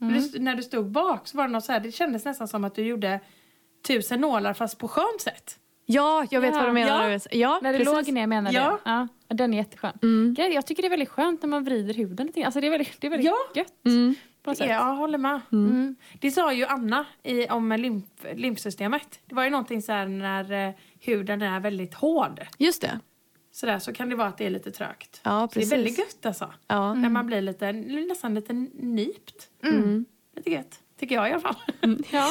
[SPEAKER 3] Mm.
[SPEAKER 2] När, du, när du stod bak så var det något så här, det kändes nästan som att du gjorde tusen nålar fast på skönt sätt.
[SPEAKER 1] Ja, jag vet
[SPEAKER 3] Ja.
[SPEAKER 1] vad du menar.
[SPEAKER 2] Ja.
[SPEAKER 1] Ja, ja
[SPEAKER 3] När det
[SPEAKER 1] precis.
[SPEAKER 3] låg ner menar
[SPEAKER 2] Ja. Mm.
[SPEAKER 3] du? Ja. ja. Den är jätteskön. Grejen- Jag tycker det är väldigt skönt när man vrider huden lite grann. Alltså det är väldigt, det är väldigt
[SPEAKER 2] Ja.
[SPEAKER 3] gött.
[SPEAKER 1] Mm.
[SPEAKER 3] På något
[SPEAKER 2] Ja,
[SPEAKER 3] sätt.
[SPEAKER 2] jag håller med.
[SPEAKER 3] Mm.
[SPEAKER 2] Det sa ju Anna i, om lymf, lymfsystemet. Det var ju någonting så här när eh, huden är väldigt hård.
[SPEAKER 1] Just det.
[SPEAKER 2] Så, där, så kan det vara att det är lite trögt.
[SPEAKER 1] Ja,
[SPEAKER 2] Så det är
[SPEAKER 1] precis.
[SPEAKER 2] väldigt gött alltså.
[SPEAKER 1] Ja.
[SPEAKER 2] När man blir lite, nästan lite nypt.
[SPEAKER 1] Mm.
[SPEAKER 2] Lite gött. Tycker jag i alla fall.
[SPEAKER 3] Ja.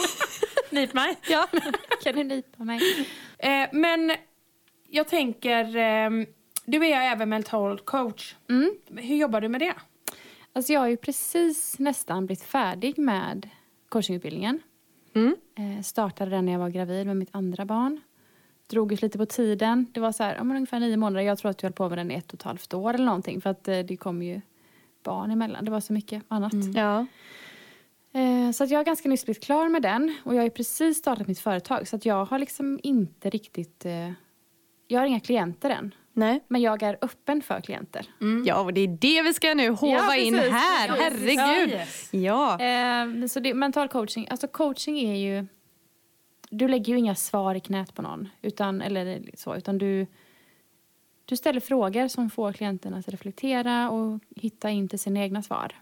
[SPEAKER 2] Nyp mig.
[SPEAKER 3] ja. kan du nypa mig?
[SPEAKER 2] Eh, men jag tänker, ehm, du är även mental coach.
[SPEAKER 3] Mm.
[SPEAKER 2] Hur jobbar du med det?
[SPEAKER 3] Alltså jag har ju precis nästan blivit färdig med coachingutbildningen.
[SPEAKER 1] Mm.
[SPEAKER 3] Eh, startade den när jag var gravid med mitt andra barn. Drog ut lite på tiden. Det var så här, ja, men ungefär nio månader. Jag tror att jag höll på med den i ett och ett halvt år eller någonting. För att eh, det kom ju barn emellan. Det var så mycket annat.
[SPEAKER 1] Ja.
[SPEAKER 3] Eh, Så att jag har ganska nyss blivit klar med den och jag har ju precis startat mitt företag så att jag har liksom inte riktigt... eh, Jag har inga klienter än,
[SPEAKER 1] Nej.
[SPEAKER 3] men jag är öppen för klienter.
[SPEAKER 2] Mm.
[SPEAKER 1] Ja, och det är det vi ska nu hova
[SPEAKER 3] Ja,
[SPEAKER 1] in
[SPEAKER 3] precis.
[SPEAKER 1] här.
[SPEAKER 3] Ja,
[SPEAKER 1] Herregud.
[SPEAKER 2] precis.
[SPEAKER 1] Ja.
[SPEAKER 3] Eh, Så det, mental coaching, alltså coaching är ju... Du lägger ju inga svar i knät på någon, utan, eller så, utan du, du ställer frågor som får klienten att reflektera och hitta in till sina egna svar.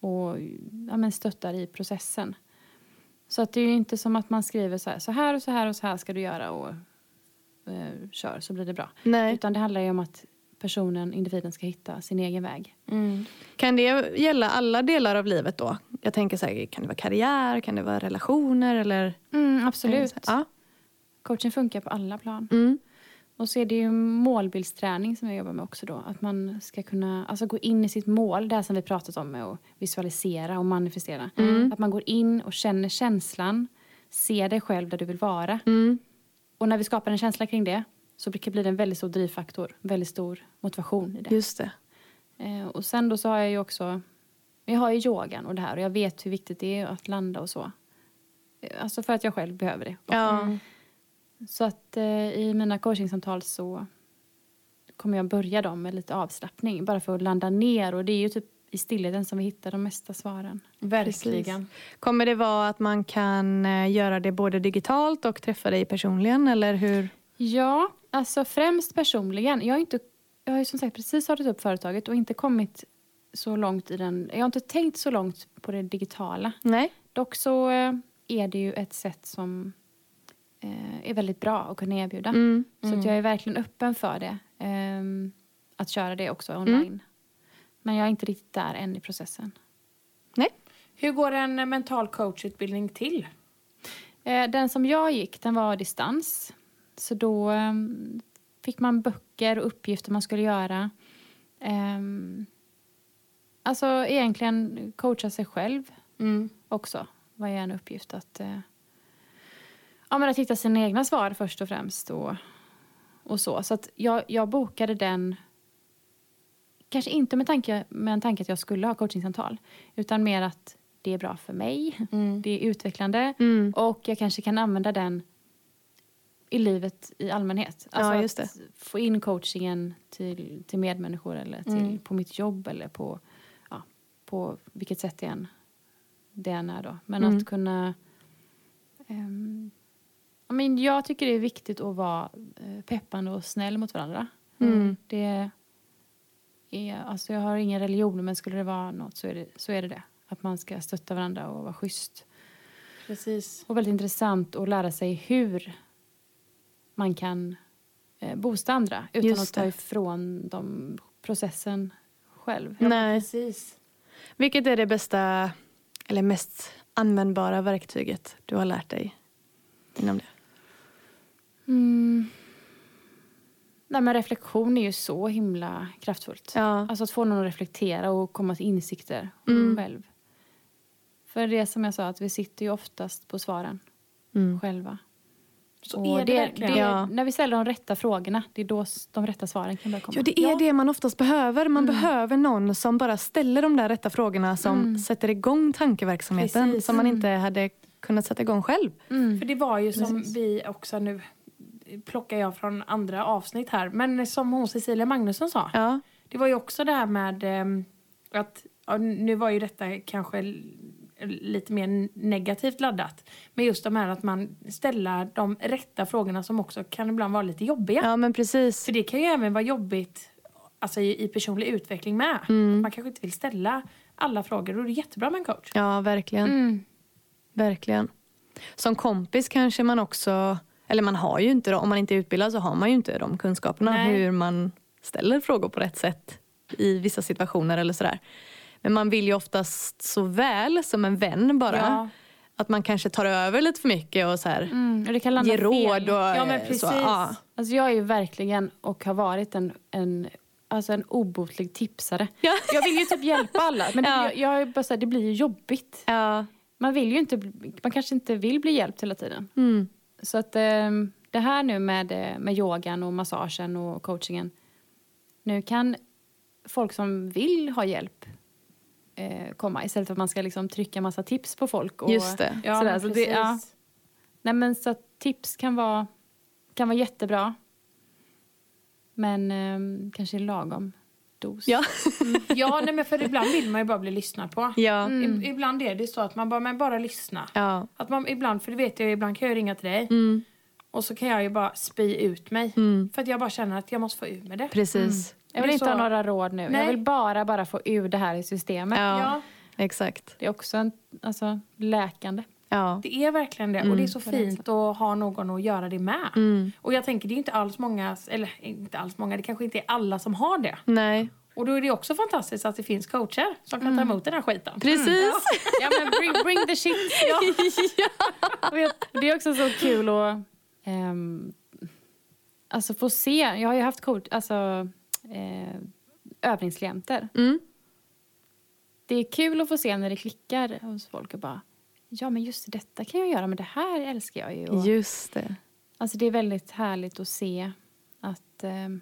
[SPEAKER 3] Och ja, men stöttar i processen. Så att det är ju inte som att man skriver så här, så här och så här och så här ska du göra och eh, kör så blir det bra.
[SPEAKER 1] Nej.
[SPEAKER 3] Utan det handlar ju om att personen, individen ska hitta sin egen väg.
[SPEAKER 2] Mm.
[SPEAKER 1] Kan det gälla alla delar av livet då? Jag tänker så här, kan det vara karriär, kan det vara relationer eller?
[SPEAKER 3] absolut.
[SPEAKER 1] Ja.
[SPEAKER 3] Coaching funkar på alla plan.
[SPEAKER 1] Mm.
[SPEAKER 3] Och så är det ju målbildsträning som jag jobbar med också då. Att man ska kunna alltså gå in i sitt mål, det här som vi pratat om med att visualisera och manifestera. Att man går in och känner känslan, ser dig själv där du vill vara.
[SPEAKER 1] Mm.
[SPEAKER 3] Och när vi skapar en känsla kring det så brukar det bli en väldigt stor drivfaktor, väldigt stor motivation i det.
[SPEAKER 1] Just det.
[SPEAKER 3] Eh, och sen då så har jag ju också, jag har ju yogan och det här och jag vet hur viktigt det är att landa och så. Eh, Alltså för att jag själv behöver det.
[SPEAKER 2] Mm.
[SPEAKER 1] Ja.
[SPEAKER 3] Så att eh, i mina coachingsamtal så kommer jag börja dem med lite avslappning bara för att landa ner och det är ju typ i stillheten som vi hittar de mesta svaren.
[SPEAKER 2] Verkligen.
[SPEAKER 1] Kommer det vara att man kan eh, göra det både digitalt och träffa dig personligen eller hur?
[SPEAKER 3] Ja, alltså främst personligen. Jag har, inte, jag har ju som sagt precis startat upp företaget och inte kommit så långt i den, jag har inte tänkt så långt på det digitala.
[SPEAKER 1] Nej.
[SPEAKER 3] Dock så eh, är det ju ett sätt som eh, är väldigt bra att kunna erbjuda.
[SPEAKER 1] Mm.
[SPEAKER 3] Så att jag är verkligen öppen för det. ehm, att köra det också online. Men jag är inte riktigt där än i processen.
[SPEAKER 1] Nej.
[SPEAKER 2] Hur går en eh, mental coachutbildning till?
[SPEAKER 3] Eh, Den som jag gick den var distans. Så då ehm, fick man böcker och uppgifter man skulle göra. Ehm, Alltså egentligen coacha sig själv
[SPEAKER 1] Mm.
[SPEAKER 3] också var ju en uppgift. Att, eh, ja, men att hitta sina egna svar först och främst. Och, och så så att jag, jag bokade den, kanske inte med tanke, med en tanke att jag skulle ha coachingsamtal. Utan mer att det är bra för mig, det är utvecklande.
[SPEAKER 1] Mm.
[SPEAKER 3] Och jag kanske kan använda den i livet i allmänhet. Alltså
[SPEAKER 1] Ja, just
[SPEAKER 3] att få in coachingen till, till medmänniskor eller till,
[SPEAKER 1] Mm.
[SPEAKER 3] på mitt jobb eller på, ja, på vilket sätt det än, det än är då. Men
[SPEAKER 1] Mm.
[SPEAKER 3] att kunna... ehm, ja, men jag tycker det är viktigt att vara eh, peppande och snäll mot varandra.
[SPEAKER 1] Mm.
[SPEAKER 3] Det är, alltså jag har ingen religion, men skulle det vara något så är det så är det. det. Att man ska stötta varandra och vara schysst.
[SPEAKER 2] Precis.
[SPEAKER 3] Och väldigt intressant att lära sig hur man kan eh, boosta andra utan
[SPEAKER 1] Just
[SPEAKER 3] att ta
[SPEAKER 1] det.
[SPEAKER 3] ifrån dem processen själv.
[SPEAKER 1] Nej.
[SPEAKER 2] Precis.
[SPEAKER 1] Vilket är det bästa eller mest användbara verktyget du har lärt dig inom det?
[SPEAKER 3] Mm. Nej, men reflektion är ju så himla kraftfullt.
[SPEAKER 1] Ja.
[SPEAKER 3] Alltså att få någon att reflektera och komma till insikter
[SPEAKER 1] Mm.
[SPEAKER 3] själv. För det är som jag sa, att vi sitter ju oftast på svaren
[SPEAKER 1] Mm.
[SPEAKER 3] själva.
[SPEAKER 2] Så
[SPEAKER 3] Och
[SPEAKER 2] är det, verkligen.
[SPEAKER 3] det-
[SPEAKER 1] Ja.
[SPEAKER 3] När vi ställer de rätta frågorna, det är då s- de rätta svaren kan börja komma.
[SPEAKER 1] Ja, Mm. det är det man oftast behöver. Man behöver någon som bara ställer de där rätta frågorna som sätter igång tankeverksamheten
[SPEAKER 2] Precis.
[SPEAKER 1] som man inte hade kunnat sätta igång själv.
[SPEAKER 3] Mm.
[SPEAKER 2] För det var ju som
[SPEAKER 3] Precis.
[SPEAKER 2] vi också nu plockar jag från andra avsnitt här. Men som hon Cecilia Magnusson sa.
[SPEAKER 1] Ja.
[SPEAKER 2] Det var ju också det här med ehm, att, ja, nu var ju detta kanske l- lite mer negativt laddat. Men just de här att man ställer de rätta frågorna som också kan ibland vara lite jobbiga.
[SPEAKER 1] ja, men precis.
[SPEAKER 2] För det kan ju även vara jobbigt alltså, i, i personlig utveckling med.
[SPEAKER 3] Mm.
[SPEAKER 2] Man kanske inte vill ställa alla frågor och det är jättebra med en coach.
[SPEAKER 1] Ja, verkligen.
[SPEAKER 3] Mm.
[SPEAKER 1] verkligen. Som kompis kanske man också... Eller man har ju inte, de- om man inte är utbildad så har man ju inte de kunskaperna.
[SPEAKER 2] Nej.
[SPEAKER 1] Hur man ställer frågor på rätt sätt i vissa situationer eller sådär. Men man vill ju oftast så väl som en vän bara.
[SPEAKER 2] Ja.
[SPEAKER 1] Att man kanske tar över lite för mycket och så här,
[SPEAKER 3] Mm. Och det kan landa
[SPEAKER 1] ger råd.
[SPEAKER 3] fel.
[SPEAKER 1] Och,
[SPEAKER 2] Ja, men
[SPEAKER 1] eh,
[SPEAKER 2] precis.
[SPEAKER 1] Så, ja.
[SPEAKER 3] Alltså jag är ju verkligen och har varit en, en, alltså en obotlig tipsare.
[SPEAKER 1] Ja.
[SPEAKER 3] Jag vill ju typ hjälpa alla, men det,
[SPEAKER 1] Ja.
[SPEAKER 3] jag, jag är bara så här, det blir ju jobbigt.
[SPEAKER 1] Ja.
[SPEAKER 3] Man, vill ju inte, bli- man kanske inte vill bli hjälpt hela tiden.
[SPEAKER 1] Mm.
[SPEAKER 3] Så att ehm, det här nu med, eh, med yogan och massagen och coachingen. Nu kan folk som vill ha hjälp eh, komma istället för att man ska liksom trycka massa tips på folk. Och,
[SPEAKER 1] Just det.
[SPEAKER 2] Ja,
[SPEAKER 3] sådär.
[SPEAKER 2] men
[SPEAKER 3] Så det-
[SPEAKER 2] precis.
[SPEAKER 3] ja. Nej, men så att tips kan vara, kan vara jättebra. Men ehm, kanske i lagom dos.
[SPEAKER 1] Ja.
[SPEAKER 2] Ja, nej, men för ibland vill man ju bara bli lyssnad på.
[SPEAKER 1] Ja. Mm.
[SPEAKER 2] I- Ibland är det så att man bara, men bara lyssna.
[SPEAKER 1] Ja.
[SPEAKER 2] Att man ibland, för det vet jag ju, ibland kan jag ringa till dig
[SPEAKER 1] Mm.
[SPEAKER 2] och så kan jag ju bara spy ut mig.
[SPEAKER 1] Mm.
[SPEAKER 2] För att jag bara känner att jag måste få ur med det.
[SPEAKER 1] Precis.
[SPEAKER 3] Jag vill
[SPEAKER 2] Det är
[SPEAKER 3] inte
[SPEAKER 2] så-
[SPEAKER 3] ha några råd nu.
[SPEAKER 2] Nej.
[SPEAKER 3] Jag vill bara, bara få ur det här i systemet.
[SPEAKER 1] Ja.
[SPEAKER 2] Ja,
[SPEAKER 1] Exakt.
[SPEAKER 3] Det är också en, alltså, läkande.
[SPEAKER 1] Ja.
[SPEAKER 2] det är verkligen det. Och
[SPEAKER 1] Mm.
[SPEAKER 2] det är så
[SPEAKER 3] det är
[SPEAKER 2] fint att ha någon att göra det med. Och jag tänker, det är ju inte alls många, eller inte alls många, det kanske inte är alla som har det.
[SPEAKER 1] Nej.
[SPEAKER 2] Och då är det också fantastiskt att det finns coacher som kan
[SPEAKER 1] Mm.
[SPEAKER 2] ta emot den här skiten.
[SPEAKER 1] Precis.
[SPEAKER 3] Ja, men bring, bring the shit. Ja. Och jag- Det är också så kul att ehm, alltså få se. Jag har ju haft coach, alltså, eh, övningsklienter.
[SPEAKER 1] Mm.
[SPEAKER 3] det är kul att få se när det klickar hos folk och bara Ja, men just detta kan jag göra, men det här älskar jag ju. Och,
[SPEAKER 1] Just det.
[SPEAKER 3] alltså, det är väldigt härligt att se att, ehm,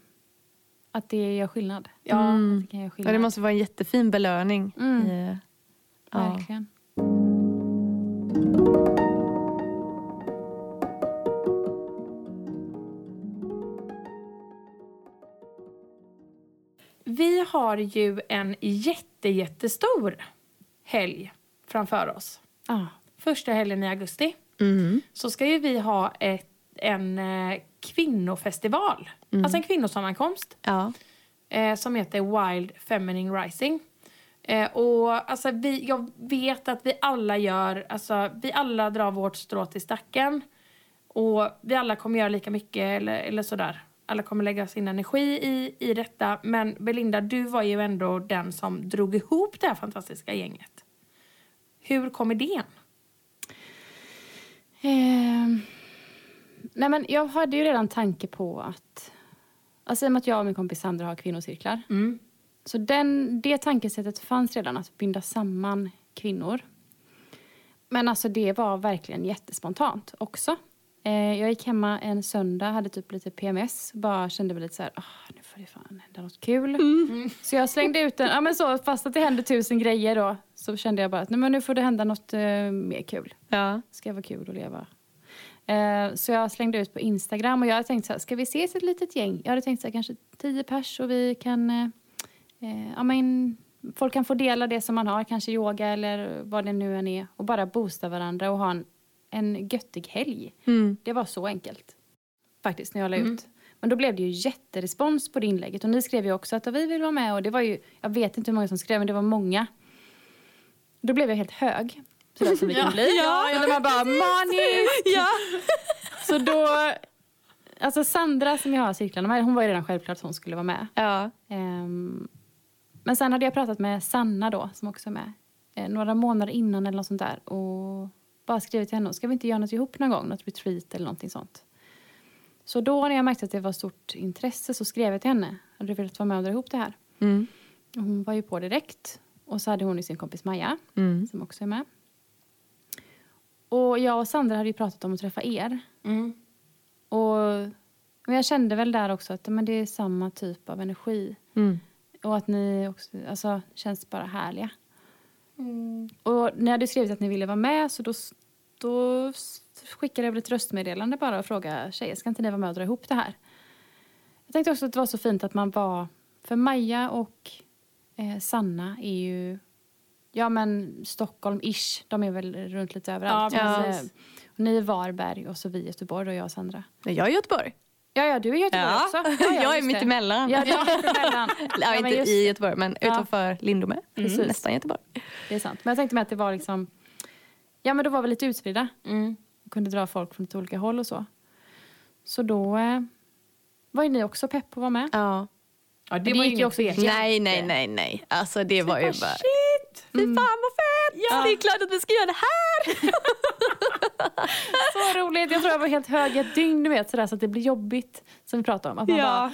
[SPEAKER 3] att det gör skillnad.
[SPEAKER 2] Ja,
[SPEAKER 1] Mm.
[SPEAKER 3] Att det kan göra
[SPEAKER 1] Ja,
[SPEAKER 3] skillnad.
[SPEAKER 1] det måste vara en jättefin belöning.
[SPEAKER 3] Mm.
[SPEAKER 1] I, eh, ja.
[SPEAKER 3] Verkligen.
[SPEAKER 2] Vi har ju en jätte, jättestor helg framför oss.
[SPEAKER 3] Ja.
[SPEAKER 2] Första helgen i augusti
[SPEAKER 1] Mm.
[SPEAKER 2] så ska ju vi ha ett, en eh, kvinnofestival. Alltså en kvinnosammankomst
[SPEAKER 1] Ja.
[SPEAKER 2] eh, som heter Wild Feminine Rising. Eh, och alltså, vi, jag vet att vi alla gör, alltså, vi alla drar vårt strå till stacken. Och vi alla kommer göra lika mycket eller, eller sådär. Alla kommer lägga sin energi i, i detta. Men Belinda, du var ju ändå den som drog ihop det här fantastiska gänget. Hur kom idén?
[SPEAKER 3] Ehm, nej men jag hade ju redan tanke på att... Alltså i och med att jag och min kompis Sandra har kvinnocirklar. Så den, det tankesättet fanns redan, att binda samman kvinnor. Men alltså det var verkligen jättespontant också. Eh, jag gick hemma en söndag, hade typ lite PMS. Bara kände mig lite så här, "Ah, nu får det fan hända något kul. Så jag slängde ut den, ja men så, fast att det hände tusen grejer då. Så kände jag bara att nej, men nu får det hända något eh, mer kul
[SPEAKER 1] Ja.
[SPEAKER 3] ska vara kul att leva. Eh, så jag slängde ut på Instagram och jag hade tänkt så här, ska vi ses ett litet gäng? Jag hade tänkt så här, kanske tio pers och vi kan, eh, eh, ja men folk kan få dela det som man har, kanske yoga eller vad det nu än är och bara boosta varandra och ha en, en göttig helg.
[SPEAKER 1] Mm.
[SPEAKER 3] Det var så enkelt faktiskt när jag la ut. Men då blev det ju jätterespons på det inlägget och ni skrev ju också att "Ja, vi vill vara med och det var ju, jag vet inte hur många som skrev men det var många. Då blev jag helt hög. Sådär som vi kan bli.
[SPEAKER 1] Ja,
[SPEAKER 3] och det var bara maniskt.
[SPEAKER 1] Ja.
[SPEAKER 3] Så då, alltså Sandra som jag har cirklarna med, hon var ju redan självklart att hon skulle vara med.
[SPEAKER 1] Ja.
[SPEAKER 3] Ehm, men sen hade jag pratat med Sanna då, som också är med, eh, några månader innan eller något sånt där. Och bara skrivit till henne, ska vi inte göra något ihop någon gång? Något retreat eller någonting sånt. Så då när jag märkte att det var stort intresse så skrev jag till henne. Hade du velat vara med och dra ihop det här?
[SPEAKER 1] Mm.
[SPEAKER 3] Och Hon var ju på direkt. Och så hade hon ju sin kompis Maja,
[SPEAKER 1] Mm.
[SPEAKER 3] som också är med. Och jag och Sandra hade ju pratat om att träffa er. Och men jag kände väl där också att men det är samma typ av energi.
[SPEAKER 1] Mm.
[SPEAKER 3] Och att ni också alltså, känns bara härliga.
[SPEAKER 2] Mm.
[SPEAKER 3] Och ni hade skrivit att ni ville vara med så då, s- då s- skickade jag väl ett röstmeddelande bara och frågade tjejer, ska inte ni vara med och dra ihop det här? Jag tänkte också att det var så fint att man var, för Maja och eh, Sanna är ju, ja men Stockholm-ish, de är väl runt lite överallt.
[SPEAKER 2] Ja,
[SPEAKER 3] Men,
[SPEAKER 2] precis.
[SPEAKER 3] eh, och ni är Varberg och så vi i Göteborg och jag och Sandra.
[SPEAKER 1] Nej, Jag är i Göteborg.
[SPEAKER 3] Ja, ja, du är i Göteborg också.
[SPEAKER 1] jag är
[SPEAKER 3] just
[SPEAKER 1] mitt
[SPEAKER 3] det.
[SPEAKER 1] emellan.
[SPEAKER 3] Ja, du är mittemellan.
[SPEAKER 1] Ja,
[SPEAKER 3] men
[SPEAKER 1] inte
[SPEAKER 3] just
[SPEAKER 1] i Göteborg, men
[SPEAKER 3] Ja.
[SPEAKER 1] utanför Lindome.
[SPEAKER 3] Precis.
[SPEAKER 1] Nästan Göteborg.
[SPEAKER 3] Det är sant. Men jag tänkte mig att det var liksom... Ja, men då var vi lite utspridda.
[SPEAKER 1] Mm.
[SPEAKER 3] Och kunde dra folk från lite olika håll och så. Så då eh, var ju ni också pepp på att vara med.
[SPEAKER 1] Ja.
[SPEAKER 2] Ja,
[SPEAKER 3] det var ju ingen tvekan.
[SPEAKER 1] Nej, nej, nej, nej. Alltså det var ju bara... Mm.
[SPEAKER 2] Shit!
[SPEAKER 1] Fy fan vad fett!
[SPEAKER 2] Ja.
[SPEAKER 1] Det är klart att vi ska göra det här!
[SPEAKER 3] Så roligt! Jag tror jag var helt hög i ett dygn, du vet, sådär, så att det blir jobbigt. Som vi pratade om. Att man
[SPEAKER 1] Ja.
[SPEAKER 3] bara,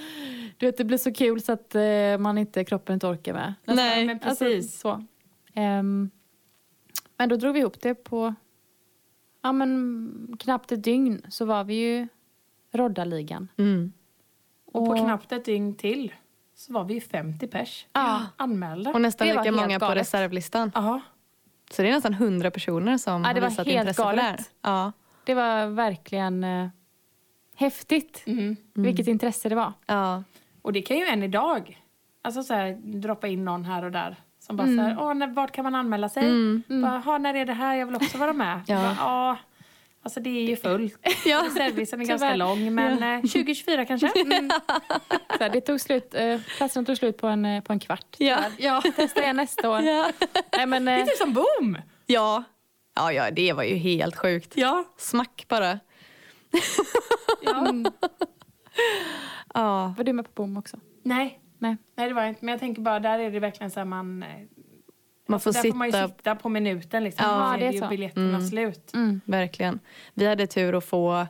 [SPEAKER 3] du vet, det blir så kul så att eh, man inte, kroppen inte orkar med.
[SPEAKER 1] Nej,
[SPEAKER 2] men precis.
[SPEAKER 3] Alltså, så. Ehm, men då drog vi ihop det på ja, men, knappt ett dygn så var vi ju Roddarligan.
[SPEAKER 1] Mm.
[SPEAKER 2] Och på knappt ett dygn till så var vi ju 50 pers
[SPEAKER 3] Ja.
[SPEAKER 2] anmälda.
[SPEAKER 1] Och nästan
[SPEAKER 3] Det var
[SPEAKER 1] lika
[SPEAKER 3] helt
[SPEAKER 1] många på
[SPEAKER 3] galet.
[SPEAKER 1] reservlistan.
[SPEAKER 2] Ja.
[SPEAKER 1] Så det är nästan 100 personer som
[SPEAKER 3] Ja, det
[SPEAKER 1] har
[SPEAKER 3] var
[SPEAKER 1] visat
[SPEAKER 3] helt
[SPEAKER 1] intresse för det här.
[SPEAKER 3] galet.
[SPEAKER 1] Ja.
[SPEAKER 3] Det var verkligen eh, häftigt
[SPEAKER 2] Mm.
[SPEAKER 3] vilket intresse det var.
[SPEAKER 1] Ja.
[SPEAKER 2] Och det kan ju än idag, alltså så här, droppa in någon här och där. Som bara
[SPEAKER 3] Mm.
[SPEAKER 2] så här, Åh, när, vart kan man anmäla sig?
[SPEAKER 1] Mm.
[SPEAKER 2] Bara, "Ha, när är det här? Jag vill också vara med.
[SPEAKER 1] Ja.
[SPEAKER 2] Bara, ja. Alltså det är ju fullt.
[SPEAKER 1] Ja.
[SPEAKER 2] Servicen är ganska
[SPEAKER 3] Tyvärr.
[SPEAKER 2] lång, men eh, 2024 kanske?
[SPEAKER 3] Så här, det tog slut, eh, platserna tog slut på en, eh, på en kvart.
[SPEAKER 1] Ja.
[SPEAKER 2] Ja.
[SPEAKER 3] Testa igen nästa år.
[SPEAKER 1] Ja.
[SPEAKER 3] Nej, men,
[SPEAKER 2] Det
[SPEAKER 3] eh,
[SPEAKER 2] är typ som boom!
[SPEAKER 1] Ja. ja, ja, det var ju helt sjukt.
[SPEAKER 2] Ja.
[SPEAKER 1] Smack bara.
[SPEAKER 2] ja.
[SPEAKER 1] Ja.
[SPEAKER 3] var du med på BOOM också?
[SPEAKER 2] Nej.
[SPEAKER 3] Nej.
[SPEAKER 2] Nej, det var jag inte. Men jag tänker bara, där är det verkligen så här man... eh, alltså,
[SPEAKER 1] Man får
[SPEAKER 2] där får man ju
[SPEAKER 1] sitta
[SPEAKER 2] sitta på minuten liksom.
[SPEAKER 3] Ja,
[SPEAKER 2] Ja,
[SPEAKER 3] det
[SPEAKER 2] är
[SPEAKER 3] är
[SPEAKER 2] ju
[SPEAKER 3] så.
[SPEAKER 2] biljetterna slut.
[SPEAKER 1] Verkligen. Vi hade tur att få...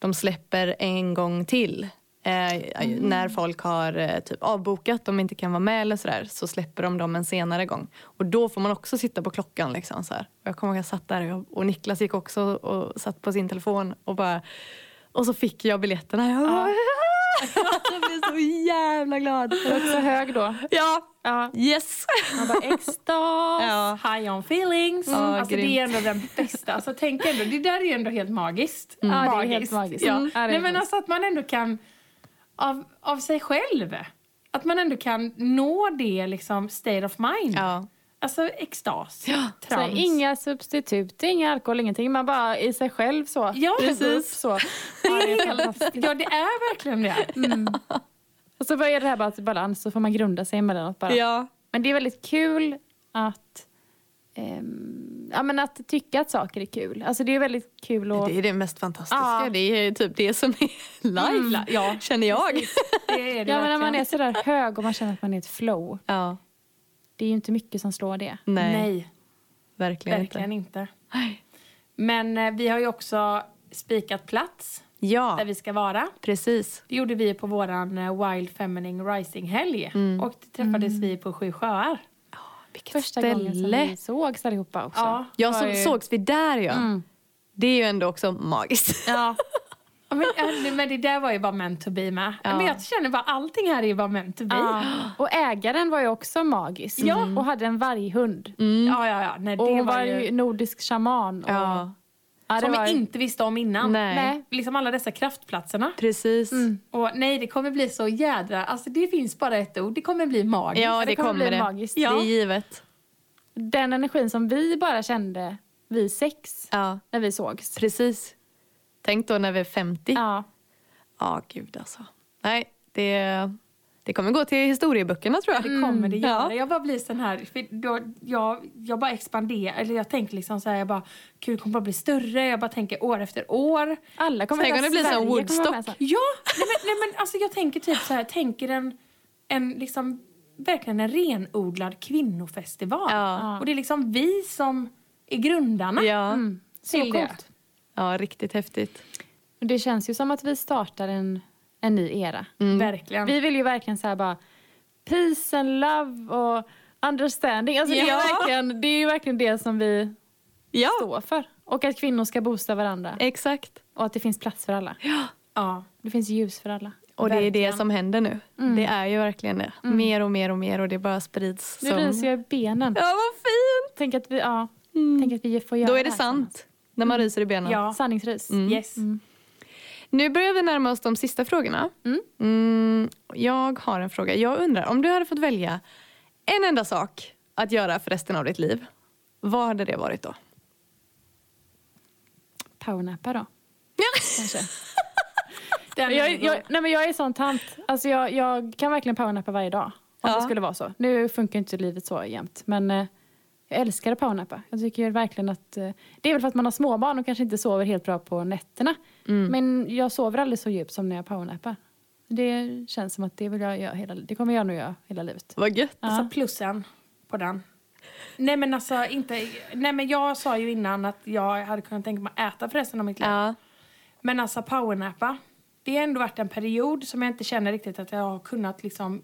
[SPEAKER 1] De släpper en gång till. Eh, När folk har eh, typ avbokat, de inte kan vara med eller sådär, så släpper de dem en senare gång. Och då får man också sitta på klockan. Liksom, så här. Jag kommer ihåg att jag satt där och, och Niklas gick också och satt på sin telefon och bara... Och så fick jag biljetterna. Jag, bara, jag blev så jävla glad.
[SPEAKER 3] Du var också hög då.
[SPEAKER 1] Ja,
[SPEAKER 3] Ja.
[SPEAKER 1] yes!
[SPEAKER 3] Man bara extas.
[SPEAKER 1] Ja.
[SPEAKER 2] High on feelings.
[SPEAKER 1] Ja,
[SPEAKER 2] alltså,
[SPEAKER 1] grymt.
[SPEAKER 2] det är ändå den bästa. Alltså, tänk ändå, det där är ju ändå helt magiskt.
[SPEAKER 3] Ja, det är helt magiskt.
[SPEAKER 2] Ja.
[SPEAKER 3] Mm. Ja, det är
[SPEAKER 2] Nej,
[SPEAKER 3] helt
[SPEAKER 2] men
[SPEAKER 3] magiskt.
[SPEAKER 2] alltså att man ändå kan, av, av sig själv, att man ändå kan nå det liksom state of mind.
[SPEAKER 1] Ja.
[SPEAKER 2] Alltså extas,
[SPEAKER 3] Så här,
[SPEAKER 2] trans.
[SPEAKER 3] inga substitut, inga alkohol, ingenting. Man bara i sig själv så.
[SPEAKER 2] Ja,
[SPEAKER 3] Precis.
[SPEAKER 2] precis.
[SPEAKER 3] Så. Ja, det är fantastiskt.
[SPEAKER 2] Ja, det är verkligen det.
[SPEAKER 3] Och så börjar det här bara till balans, så får man grunda sig emellanåt bara.
[SPEAKER 1] Ja.
[SPEAKER 3] Men det är väldigt kul att, ehm, ja, men att tycka att saker är kul. Alltså det är väldigt kul att...
[SPEAKER 1] Det är det mest fantastiska.
[SPEAKER 3] Ja.
[SPEAKER 1] Det är typ det som är live,
[SPEAKER 3] Mm, ja.
[SPEAKER 1] känner jag.
[SPEAKER 2] Det är det
[SPEAKER 3] Ja, men när man
[SPEAKER 2] verkligen.
[SPEAKER 3] är sådär hög och man känner att man är i ett flow.
[SPEAKER 1] Ja,
[SPEAKER 3] Det är ju inte mycket som slår det.
[SPEAKER 1] nej,
[SPEAKER 2] Nej,
[SPEAKER 1] verkligen,
[SPEAKER 2] verkligen inte.
[SPEAKER 1] inte.
[SPEAKER 2] Men eh, vi har ju också spikat plats där
[SPEAKER 1] Ja,
[SPEAKER 2] vi ska vara.
[SPEAKER 1] precis.
[SPEAKER 2] Det gjorde vi på våran eh, Wild Feminine Rising-helg.
[SPEAKER 1] Mm.
[SPEAKER 2] Och det träffades vi på Sju sjöar.
[SPEAKER 1] Vilket
[SPEAKER 3] Första gången som
[SPEAKER 1] ställe.
[SPEAKER 3] vi sågs allihopa också.
[SPEAKER 1] Ja,
[SPEAKER 2] var
[SPEAKER 1] så,
[SPEAKER 2] ju-
[SPEAKER 1] sågs vi där ja.
[SPEAKER 3] Mm.
[SPEAKER 1] Det är ju ändå också magiskt.
[SPEAKER 2] Ja. Ja, Men, eh, men det där var ju bara meant to be med.
[SPEAKER 1] Ja.
[SPEAKER 2] Men jag känner bara allting här är ju bara meant to be.
[SPEAKER 3] Ja. Och ägaren var ju också magisk. Och hade en varghund.
[SPEAKER 1] Mm.
[SPEAKER 2] Ja, ja, ja. Nej, Mm. det
[SPEAKER 3] Och hon
[SPEAKER 2] var, ju...
[SPEAKER 3] nordisk shaman. Och,
[SPEAKER 1] Ja,
[SPEAKER 3] Ja, det
[SPEAKER 2] Som
[SPEAKER 3] var-
[SPEAKER 2] vi inte visste om innan.
[SPEAKER 1] Nej.
[SPEAKER 3] Nej.
[SPEAKER 2] Liksom alla dessa kraftplatserna.
[SPEAKER 1] precis.
[SPEAKER 2] Och nej, det kommer bli så jädra... Alltså det finns bara ett ord. Det kommer bli magiskt.
[SPEAKER 1] Ja, det,
[SPEAKER 3] det kommer
[SPEAKER 1] kommer,
[SPEAKER 3] bli
[SPEAKER 1] det.
[SPEAKER 3] magiskt.
[SPEAKER 1] Det
[SPEAKER 3] Ja.
[SPEAKER 1] är givet.
[SPEAKER 3] Den energin som vi bara kände, vi sex,
[SPEAKER 1] Ja,
[SPEAKER 3] när vi sågs.
[SPEAKER 1] precis. Tänk då när vi är 50. Ja,
[SPEAKER 3] Ja.
[SPEAKER 1] gud alltså. Nej, det, det kommer gå till historieböckerna tror jag. Mm.
[SPEAKER 2] Det kommer det göra.
[SPEAKER 1] Ja.
[SPEAKER 2] Jag bara blir sån här, för då, jag, jag bara expanderar, eller jag tänker liksom så här, jag bara, gud det kommer bara bli större, jag bara tänker år efter år.
[SPEAKER 3] Alla kommer
[SPEAKER 1] Tänk om det blir som
[SPEAKER 3] Sverige kommer
[SPEAKER 1] Woodstock.
[SPEAKER 3] vara med så här.
[SPEAKER 2] Ja, nej men, nej, men alltså jag tänker typ så här, tänker en, en liksom, verkligen en renodlad kvinnofestival.
[SPEAKER 1] Ja.
[SPEAKER 2] Och det är liksom vi som är grundarna.
[SPEAKER 1] Ja.
[SPEAKER 3] Mm. Så
[SPEAKER 2] Till det.
[SPEAKER 3] coolt.
[SPEAKER 1] ja, riktigt häftigt.
[SPEAKER 3] Och det känns ju som att vi startar en, en ny era.
[SPEAKER 1] Mm.
[SPEAKER 2] Verkligen.
[SPEAKER 3] Mm. Vi vill ju verkligen så här bara peace and love och understanding. Alltså det,
[SPEAKER 1] Ja.
[SPEAKER 3] är verkligen, det är ju verkligen det som vi
[SPEAKER 1] Ja,
[SPEAKER 3] står för. Och att kvinnor ska boosta varandra.
[SPEAKER 1] exakt.
[SPEAKER 3] Och att det finns plats för alla.
[SPEAKER 2] Ja.
[SPEAKER 3] Det finns ljus för alla.
[SPEAKER 1] Och det är
[SPEAKER 2] Verkligen.
[SPEAKER 1] det som händer nu. Det är ju verkligen det. Mer och mer och mer och det bara sprids.
[SPEAKER 3] Nu
[SPEAKER 1] som-
[SPEAKER 3] ryser jag i benen.
[SPEAKER 1] Ja, vad fint!
[SPEAKER 3] Tänk att vi, ja, tänk att vi får göra
[SPEAKER 1] Då är det
[SPEAKER 3] här
[SPEAKER 1] sant. Mm. När man ryser i benen.
[SPEAKER 2] Ja.
[SPEAKER 3] tillsammans. Sanningsrys.
[SPEAKER 2] Yes.
[SPEAKER 1] Nu börjar vi närma oss de sista frågorna. Mm, jag har en fråga. Jag undrar, om du hade fått välja en enda sak att göra för resten av ditt liv, vad hade det varit då?
[SPEAKER 3] Powernappa då. Kanske.
[SPEAKER 2] Den
[SPEAKER 3] Jag,
[SPEAKER 2] är-
[SPEAKER 3] jag, nej men jag är sån tant. Alltså jag, jag kan verkligen powernappa varje dag. Om
[SPEAKER 1] Ja.
[SPEAKER 3] det skulle vara så. Nu funkar inte livet så jämt. Men eh, jag älskar att powernappa. Jag tycker ju verkligen att... Eh, det är väl för att man har småbarn och kanske inte sover helt bra på nätterna.
[SPEAKER 2] Mm.
[SPEAKER 3] Men jag sover aldrig så djupt som när jag powernappar. Det känns som att det vill jag göra hela Det kommer jag nog göra hela livet.
[SPEAKER 1] Vad gött.
[SPEAKER 2] Alltså plussen på den. Nej men alltså inte, nej men jag sa ju innan att jag hade kunnat tänka mig att äta för resten av mitt liv.
[SPEAKER 1] Ja.
[SPEAKER 2] Men alltså powernappa, det har ändå varit en period som jag inte känner riktigt att jag har kunnat liksom,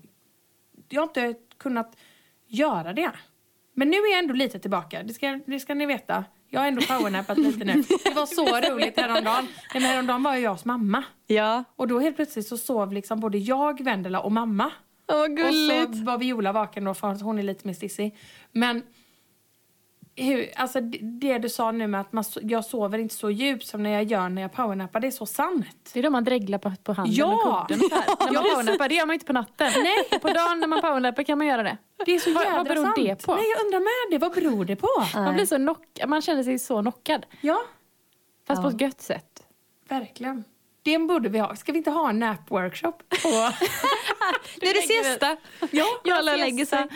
[SPEAKER 2] jag har inte kunnat göra det. Men nu är jag ändå lite tillbaka, det ska, det ska ni veta. Jag har ändå powernappat lite nu. Det var så roligt häromdagen. Nej men häromdagen var ju jag hos mamma.
[SPEAKER 1] Ja.
[SPEAKER 2] Och då helt plötsligt så sov liksom både jag, Vendela och mamma.
[SPEAKER 1] Åh, vad gulligt.
[SPEAKER 2] Och så var Viola vaken då, för hon är lite mer stissig. Men hur, alltså det- det du sa nu med att man, so- jag sover inte så djupt som när jag gör när jag powernappar, det är så sant.
[SPEAKER 3] Det är då man dreglar på, på handen
[SPEAKER 2] Ja!
[SPEAKER 3] och kudden. och så här. När man
[SPEAKER 2] Ja,
[SPEAKER 3] powernappar, det gör man inte på natten. Nej. På dagen när man powernappar kan man göra det.
[SPEAKER 2] Det är så
[SPEAKER 3] Vad-
[SPEAKER 2] jädra
[SPEAKER 3] vad beror
[SPEAKER 2] sant.
[SPEAKER 3] det på?
[SPEAKER 2] Nej, jag undrar med det. Vad beror det på?
[SPEAKER 3] Man, blir så knock, man känner sig så knockad.
[SPEAKER 2] Ja,
[SPEAKER 3] Fast på ett gött sätt.
[SPEAKER 2] verkligen. Det borde vi ha. Ska vi inte ha en nap-workshop?
[SPEAKER 1] Nu är det siesta.
[SPEAKER 2] ja,
[SPEAKER 1] Ja, alla lägger sig.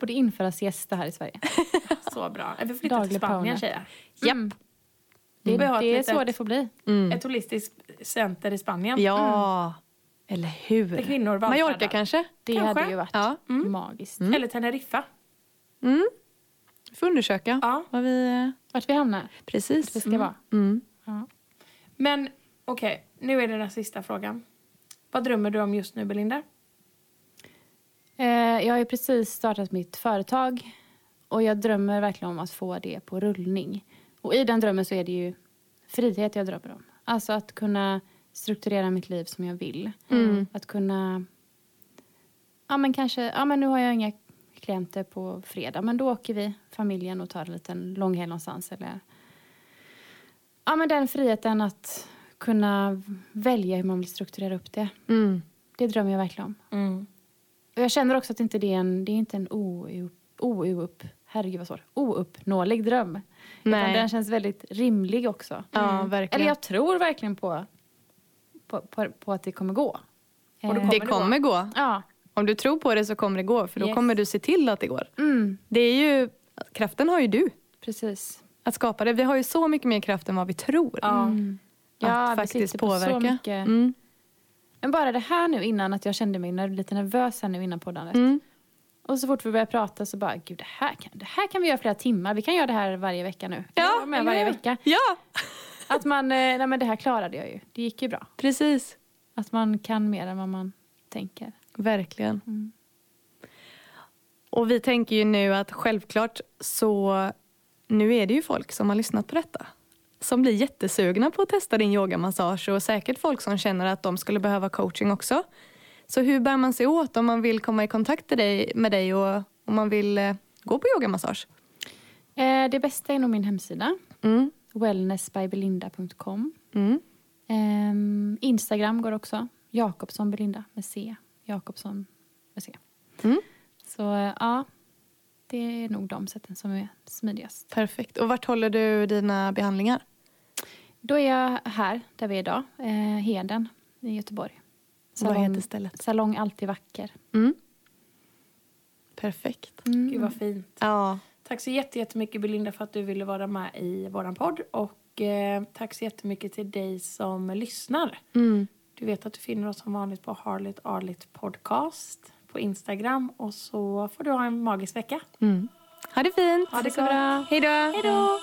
[SPEAKER 3] Borde införa siesta här i Sverige.
[SPEAKER 2] så bra. Vi flyttar till
[SPEAKER 3] Daglig
[SPEAKER 2] Spanien,
[SPEAKER 3] powernap.
[SPEAKER 2] tjejer.
[SPEAKER 1] Japp.
[SPEAKER 3] Det,
[SPEAKER 2] Vi har ett
[SPEAKER 3] Mm. det är
[SPEAKER 2] litet-
[SPEAKER 3] så det får bli.
[SPEAKER 2] Ett holistiskt center i Spanien.
[SPEAKER 1] Mm. Ja. Eller
[SPEAKER 2] Där
[SPEAKER 1] hur?
[SPEAKER 2] kvinnor vallfärdar.
[SPEAKER 1] Mallorca kanske?
[SPEAKER 3] Det
[SPEAKER 2] Kanske.
[SPEAKER 3] hade ju varit
[SPEAKER 1] Ja.
[SPEAKER 3] magiskt.
[SPEAKER 2] Eller Teneriffa.
[SPEAKER 1] Mm. Vi får undersöka
[SPEAKER 2] Ja.
[SPEAKER 1] vad vi... eh,
[SPEAKER 3] Vart vi hamnar.
[SPEAKER 1] Precis.
[SPEAKER 3] Det ska vara.
[SPEAKER 1] Mm.
[SPEAKER 3] Ja.
[SPEAKER 2] Men okej, nu är det den sista frågan. Vad drömmer du om just nu, Belinda?
[SPEAKER 3] Eh, Jag har ju precis startat mitt företag och jag drömmer verkligen om att få det på rullning. Och i den drömmen så är det ju frihet jag drömmer om. Alltså att kunna strukturera mitt liv som jag vill. Att kunna... Ja men kanske, ja men nu har jag inga klienter på fredag men då åker vi familjen och tar en liten långhelg någonstans eller... Ja men den friheten att kunna välja hur man vill strukturera upp det.
[SPEAKER 1] Mm.
[SPEAKER 3] Det drömmer jag verkligen om. Och jag känner också att inte det är en, det är inte en oupp, oupp, herregud vad svårt, ouppnåelig dröm. Utan
[SPEAKER 1] Nej.
[SPEAKER 3] den känns väldigt rimlig också. Mm.
[SPEAKER 1] Ja, verkligen.
[SPEAKER 3] Eller jag tror verkligen på, på, på, på att det kommer gå.
[SPEAKER 2] Och då
[SPEAKER 3] Eh,
[SPEAKER 2] kommer
[SPEAKER 1] det kommer gå.
[SPEAKER 3] Ja,
[SPEAKER 1] Om du tror på det så kommer det gå, för då
[SPEAKER 3] Yes.
[SPEAKER 1] kommer du se till att det går.
[SPEAKER 3] Mm,
[SPEAKER 1] Det är ju, kraften har ju du
[SPEAKER 3] precis.
[SPEAKER 1] att skapa det. Vi har ju så mycket mer kraft än vad vi tror.
[SPEAKER 3] Mm.
[SPEAKER 1] Att
[SPEAKER 3] Ja, vi
[SPEAKER 1] faktiskt
[SPEAKER 3] sitter på så
[SPEAKER 1] påverka.
[SPEAKER 3] mycket.
[SPEAKER 1] Mm.
[SPEAKER 3] Men bara det här nu innan, att jag kände mig ner- lite nervös här nu innan poddandet.
[SPEAKER 1] Mm.
[SPEAKER 3] Och så fort vi började prata så bara, gud det här, kan, det här kan vi göra flera timmar. Vi kan göra det här varje vecka nu.
[SPEAKER 1] Ja,
[SPEAKER 3] jag var med
[SPEAKER 1] eller
[SPEAKER 3] varje
[SPEAKER 1] hur?
[SPEAKER 3] vecka.
[SPEAKER 1] Ja,
[SPEAKER 3] Att man, eh, nej men det här klarade jag ju. Det gick ju bra.
[SPEAKER 1] precis.
[SPEAKER 3] Att man kan mer än vad man tänker.
[SPEAKER 1] Verkligen.
[SPEAKER 3] Mm.
[SPEAKER 1] Och vi tänker ju nu att självklart så nu är det ju folk som har lyssnat på detta som blir jättesugna på att testa din yogamassage och säkert folk som känner att de skulle behöva coaching också. Så hur bär man sig åt om man vill komma i kontakt med dig, med dig och om man vill eh, gå på yogamassage?
[SPEAKER 3] Eh, det bästa är nog min hemsida,
[SPEAKER 1] Mm.
[SPEAKER 3] wellnessbybelinda.com.
[SPEAKER 1] Mm.
[SPEAKER 3] Ehm, Instagram går också, Jakobsson Belinda med C. Jakobsson med C.
[SPEAKER 1] Mm.
[SPEAKER 3] Så eh, ja, det är nog de sätten som är smidigast.
[SPEAKER 1] Perfekt. Och vart håller du dina behandlingar?
[SPEAKER 3] Då är jag här, där vi är idag, eh, Heden i Göteborg.
[SPEAKER 1] Vad heter stället?
[SPEAKER 3] Salong Alltid Vacker.
[SPEAKER 1] Mm. Perfekt.
[SPEAKER 3] Mm.
[SPEAKER 2] Gud vad fint.
[SPEAKER 1] Ja,
[SPEAKER 2] Tack så jätte- jättemycket Belinda för att du ville vara med i våran podd. Och eh, tack så jättemycket till dig som lyssnar.
[SPEAKER 1] mm.
[SPEAKER 2] Du vet att du finner oss som vanligt på Harligt Arligt Podcast på Instagram. Och så får du ha en magisk vecka.
[SPEAKER 1] Mm. Ha det fint.
[SPEAKER 2] Ha det
[SPEAKER 1] Hej då.
[SPEAKER 2] Hej då!